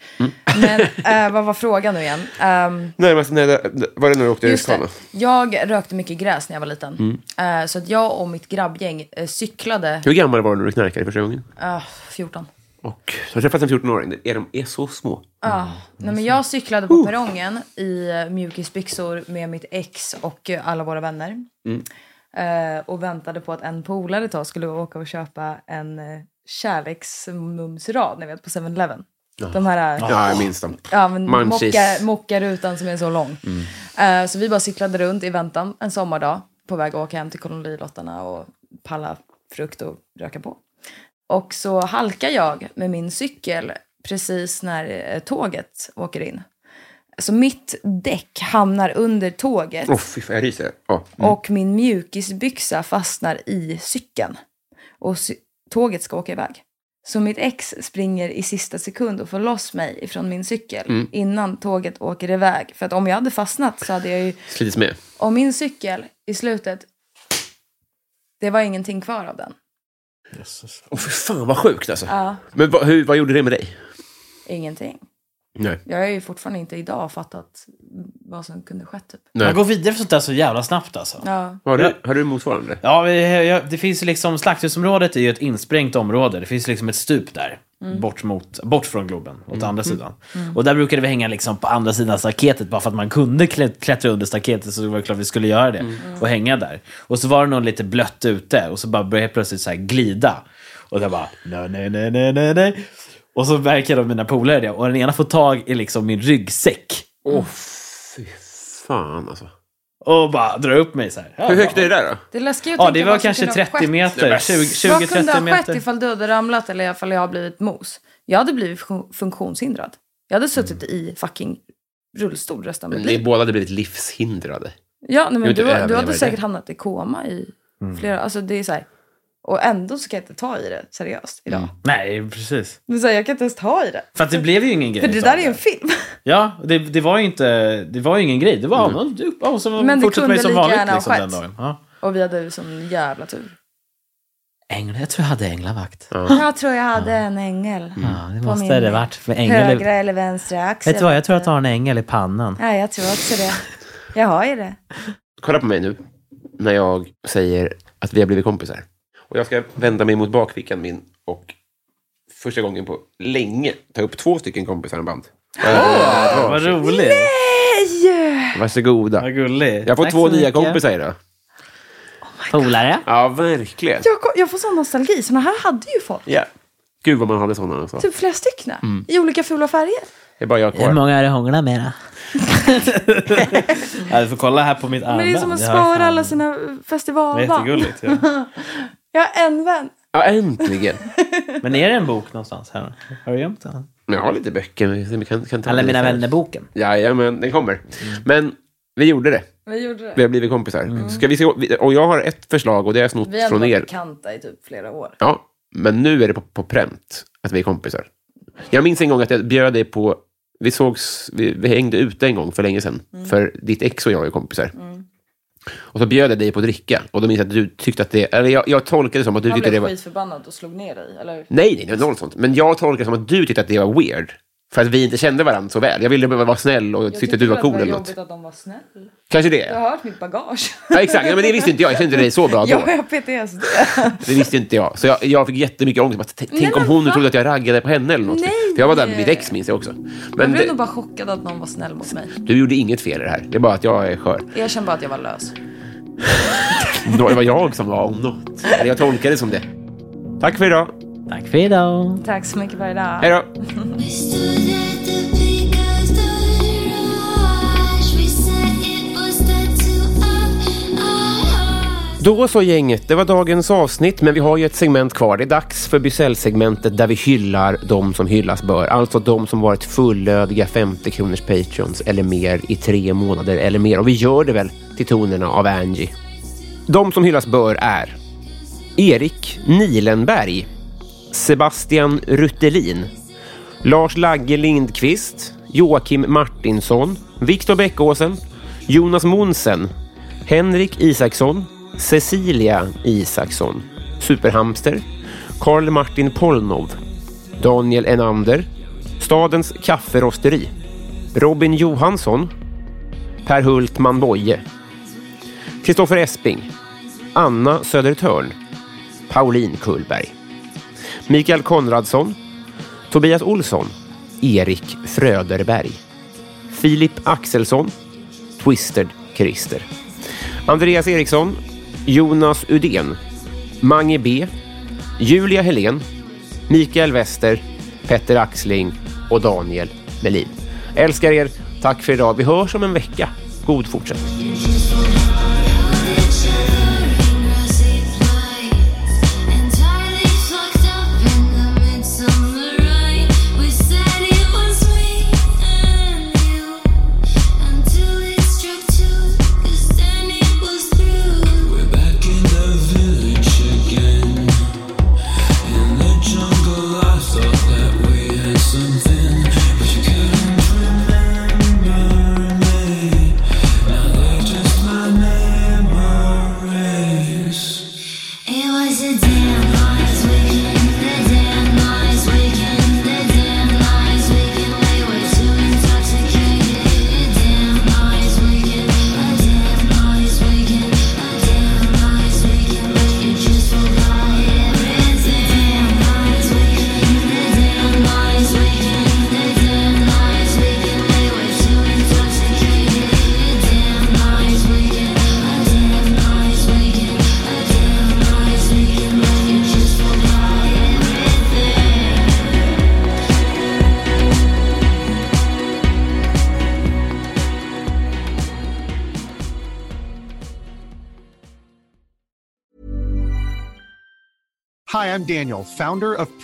S3: Men eh, vad var frågan nu igen? Ehm,
S2: Närmast nära... Var det när du åkte
S3: Just
S2: rutschkana?
S3: det. Jag rökte mycket gräs när jag var liten.
S2: Mm.
S3: Eh, så att jag och mitt grabbgäng eh, cyklade
S2: Hur gammal var du när du knarkade första gången?
S3: eh, 14.
S2: Och så har jag träffat en 14-åring. Är de är så små.
S3: Ja, nej, men jag cyklade på perrongen i eh, mjukisbyxor med mitt ex och eh, alla våra vänner.
S2: Mm.
S3: Eh, och väntade på att en polare till oss skulle åka och köpa en eh, kärleksmumsrad, ni vet, på 7-Eleven. De här... eh,
S2: Ja, jag minns dem.
S3: Ja, men
S2: Munchies.
S3: mocka, mockarutan som är så lång. Eh, så vi bara cyklade runt i väntan en sommardag på väg att åka hem till kolonilottarna och palla frukt och röka på. Och så halkar jag med min cykel precis när eh, tåget åker in. Så mitt däck hamnar under tåget
S2: Åh, fy fan, jag ryser. Ja.
S4: Mm.
S3: och min mjukisbyxa fastnar i cykeln. Och cy- tåget ska åka iväg. Så mitt ex springer i sista sekund och får loss mig ifrån min cykel
S4: Mm.
S3: innan tåget åker iväg. För att om jag hade fastnat så hade jag ju...
S2: Slits med.
S3: Om min cykel i slutet... Det var ingenting kvar av den.
S2: Åh, fy fan vad sjukt alltså.
S3: Ja,
S2: Men vad, hur, vad gjorde det med dig?
S3: ingenting.
S2: Nej.
S3: Jag har ju fortfarande inte idag fattat vad som kunde skett typ.
S4: Man går vidare för sånt där så jävla snabbt alltså.
S3: Ja.
S2: Har du, har du motsvarande?
S4: Ja, vi- ja, det finns ju liksom, slakthusområdet är ju ett insprängt område. Det finns liksom ett stup där,
S3: Mm.
S4: bort, mot, bort från Globen, åt andra sidan. Och där brukade vi hänga liksom på andra sidan staketet, bara för att man kunde klä- klättra under staketet så var det klart vi skulle göra det.
S3: Mm.
S4: Och hänga där. Och så var det någon lite blött ute, och så bara började jag plötsligt så här glida. Och jag bara, nej, nej, nej, nej, nej, nej. Och så märker de mina polare det, och den ena får tag i liksom min ryggsäck.
S2: Åh, fy fan alltså.
S4: Och bara drar upp mig så här. Ja,
S2: Hur högt är det där då?
S3: Det är läskigt att
S4: Ja,
S3: tänka
S4: det var
S3: vad som
S4: kanske
S3: kunde ha
S4: 30
S3: skett.
S4: meter.
S3: Vad kunde
S4: 20-30
S3: ha skett
S4: meter.
S3: ifall du hade ramlat eller ifall jag hade blivit mos? Jag hade blivit fun- funktionshindrad. Jag hade suttit
S4: Mm.
S3: i fucking rullstol resten av mitt
S2: Men ni
S3: liv.
S2: båda hade blivit livshindrade.
S3: Ja, nej,
S2: Jo,
S3: men
S2: inte
S3: du,
S2: överleva
S3: du hade
S2: det.
S3: säkert hamnat i koma i
S4: Mm.
S3: flera... Alltså det är så här, och ändå så kan jag inte ta i det seriöst idag.
S4: Mm. Nej, precis.
S3: Men så här, jag kan inte ens ta i det.
S4: För att det blev ju ingen grej.
S3: För det
S4: utav
S3: där är ju en film.
S4: Ja, det, det var ju inte... Det var ju ingen grej. Det var mm. du, ja, som
S3: Men det
S4: fortsatte
S3: kunde
S4: mig som
S3: lika
S4: vanligt
S3: gärna ha
S4: liksom, den
S3: skett.
S4: dagen. Ja.
S3: Och vi hade ju sån jävla tur.
S4: Ängel, jag tror jag hade änglavakt. Ja, Mm.
S3: Jag tror jag hade en ängel.
S4: det
S3: På
S4: måste
S3: min
S4: det varit. För ängel är,
S3: Högra eller vänstra axeln.
S4: vet du vad, jag tror att jag har en ängel i pannan.
S3: Ja, jag tror också det. Jag har ju det.
S2: Kolla på mig nu när jag säger att vi har blivit kompisar. Och jag ska vända mig mot bakfickan min och första gången på länge ta upp två stycken kompisarmband. Oh,
S4: Vad roligt.
S2: Varsågoda.
S4: Vad gullig.
S2: Jag får
S4: Tack
S2: två
S4: så
S2: nya
S4: mycket.
S2: kompisar idag.
S4: Polare.
S2: Ja, verkligen.
S3: Jag, kom- jag får sån nostalgi. Såna här hade ju folk.
S2: Ja. Gud vad man hade sådana. Alltså.
S3: Typ flera stycken. I olika fula färger.
S2: Det är bara jag
S4: Hur
S2: kvar.
S4: många är det hånglar med då? ja, du får kolla här på mitt armband.
S3: Men det är som att
S4: Jag har
S3: spara
S4: fan-
S3: alla sina
S4: Det är
S3: festivalband.
S4: jättegulligt. Ja.
S3: Jag har en vän
S2: Ja, äntligen.
S4: Men är det en bok någonstans här? Har du gömt den?
S2: Men jag har lite böcker. Vi kan, kan ta
S4: Alla mina
S2: lite.
S4: vänner-boken.
S2: Jajamän, den kommer. Men vi gjorde det.
S3: Vi gjorde det.
S2: Vi har blivit kompisar.
S4: Mm.
S2: Ska vi se, och jag har ett förslag och det har jag snott
S3: Vi har
S2: från
S3: varit
S2: er.
S3: bekanta i typ flera år.
S2: Ja, men nu är det på, på pränt att vi är kompisar. Jag minns en gång att jag bjöd dig på... Vi sågs, vi, vi hängde ute en gång för länge sedan.
S3: Mm.
S2: För ditt ex och jag är kompisar. Och så bjöd jag dig på att dricka. Och då minns jag att du tyckte att det... Eller jag, jag tolkade det som att du
S3: Han
S2: tyckte det
S3: blev
S2: var...
S3: skitförbannad och slog ner dig, eller hur?
S2: Nej, nej, nej, noll sånt. Men jag tolkade det som att du tyckte att det var weird. För att vi inte kände varandra så väl. Jag ville bara vara snäll och tyckte att du var cool
S3: det
S2: eller
S3: var
S2: något.
S3: jobbigt att de var snäll.
S2: Kanske det.
S3: Jag
S2: Ja,
S3: har hört mitt bagage.
S2: exakt. Ja, men det visste inte jag. Jag kände inte dig så bra då.
S3: Jag har PTSD.
S2: Det visste inte jag. Så jag, jag fick jättemycket ångest. Bara, t- Tänk om
S3: men
S2: hon
S3: va?
S2: trodde att jag raggade på henne eller något.
S3: Nej.
S2: För jag var där med mitt ex minns jag också.
S3: Jag
S2: Men
S3: blev
S2: det,
S3: nog bara chockad att någon var snäll mot mig.
S2: du gjorde inget fel i det här. Det är bara att jag är skör.
S3: Jag kände bara att jag var lös.
S2: Då- Det var jag som var om något. Eller jag tolkade det som det. Tack för idag.
S4: Tack för idag.
S3: Tack så mycket för idag.
S2: Hej då.
S7: We stood at the peak of the rush. We said it was dead to our hearts.
S2: Då så gänget, det var dagens avsnitt men vi har ju ett segment kvar. Det är dags för Bysell-segmentet där vi hyllar de som hyllas bör. Alltså de som varit fullödiga 50 kronors patreons eller mer i tre månader eller mer. Och vi gör det väl till tonerna av Angie. De som hyllas bör är Erik Nilenberg, Sebastian Ruttelin, Lars Lagge Lindqvist, Joakim Martinsson, Viktor Bäckåsen, Jonas Monsen, Henrik Isaksson, Cecilia Isaksson, Superhamster, Karl Martin Polnov, Daniel Enander, Stadens kafferosteri, Robin Johansson, Per Hultman Boye, Kristoffer Esping, Anna Södertörn, Pauline Kullberg, Mikael Konradsson, Tobias Olsson, Erik Fröderberg, Filip Axelsson, Twisted Christer, Andreas Eriksson, Jonas Udén, Mange B, Julia Helén, Mikael Wester, Petter Axling och Daniel Melin. Älskar er, tack för idag. Vi hörs om en vecka. God fortsättning.
S7: It was a damn lies weekend, the damn lies weekend, the damn lies weekend. We were too intoxicated. A damn lies weekend, a damn lies weekend, a damn lies weekend. But you just forgot everything. The damn lies weekend, the damn lies weekend, the damn lies weekend. We were too intoxicated. A damn lies weekend, a damn lies weekend, a damn lies weekend. But you just forgot everything.
S8: Hi, I'm Daniel, founder of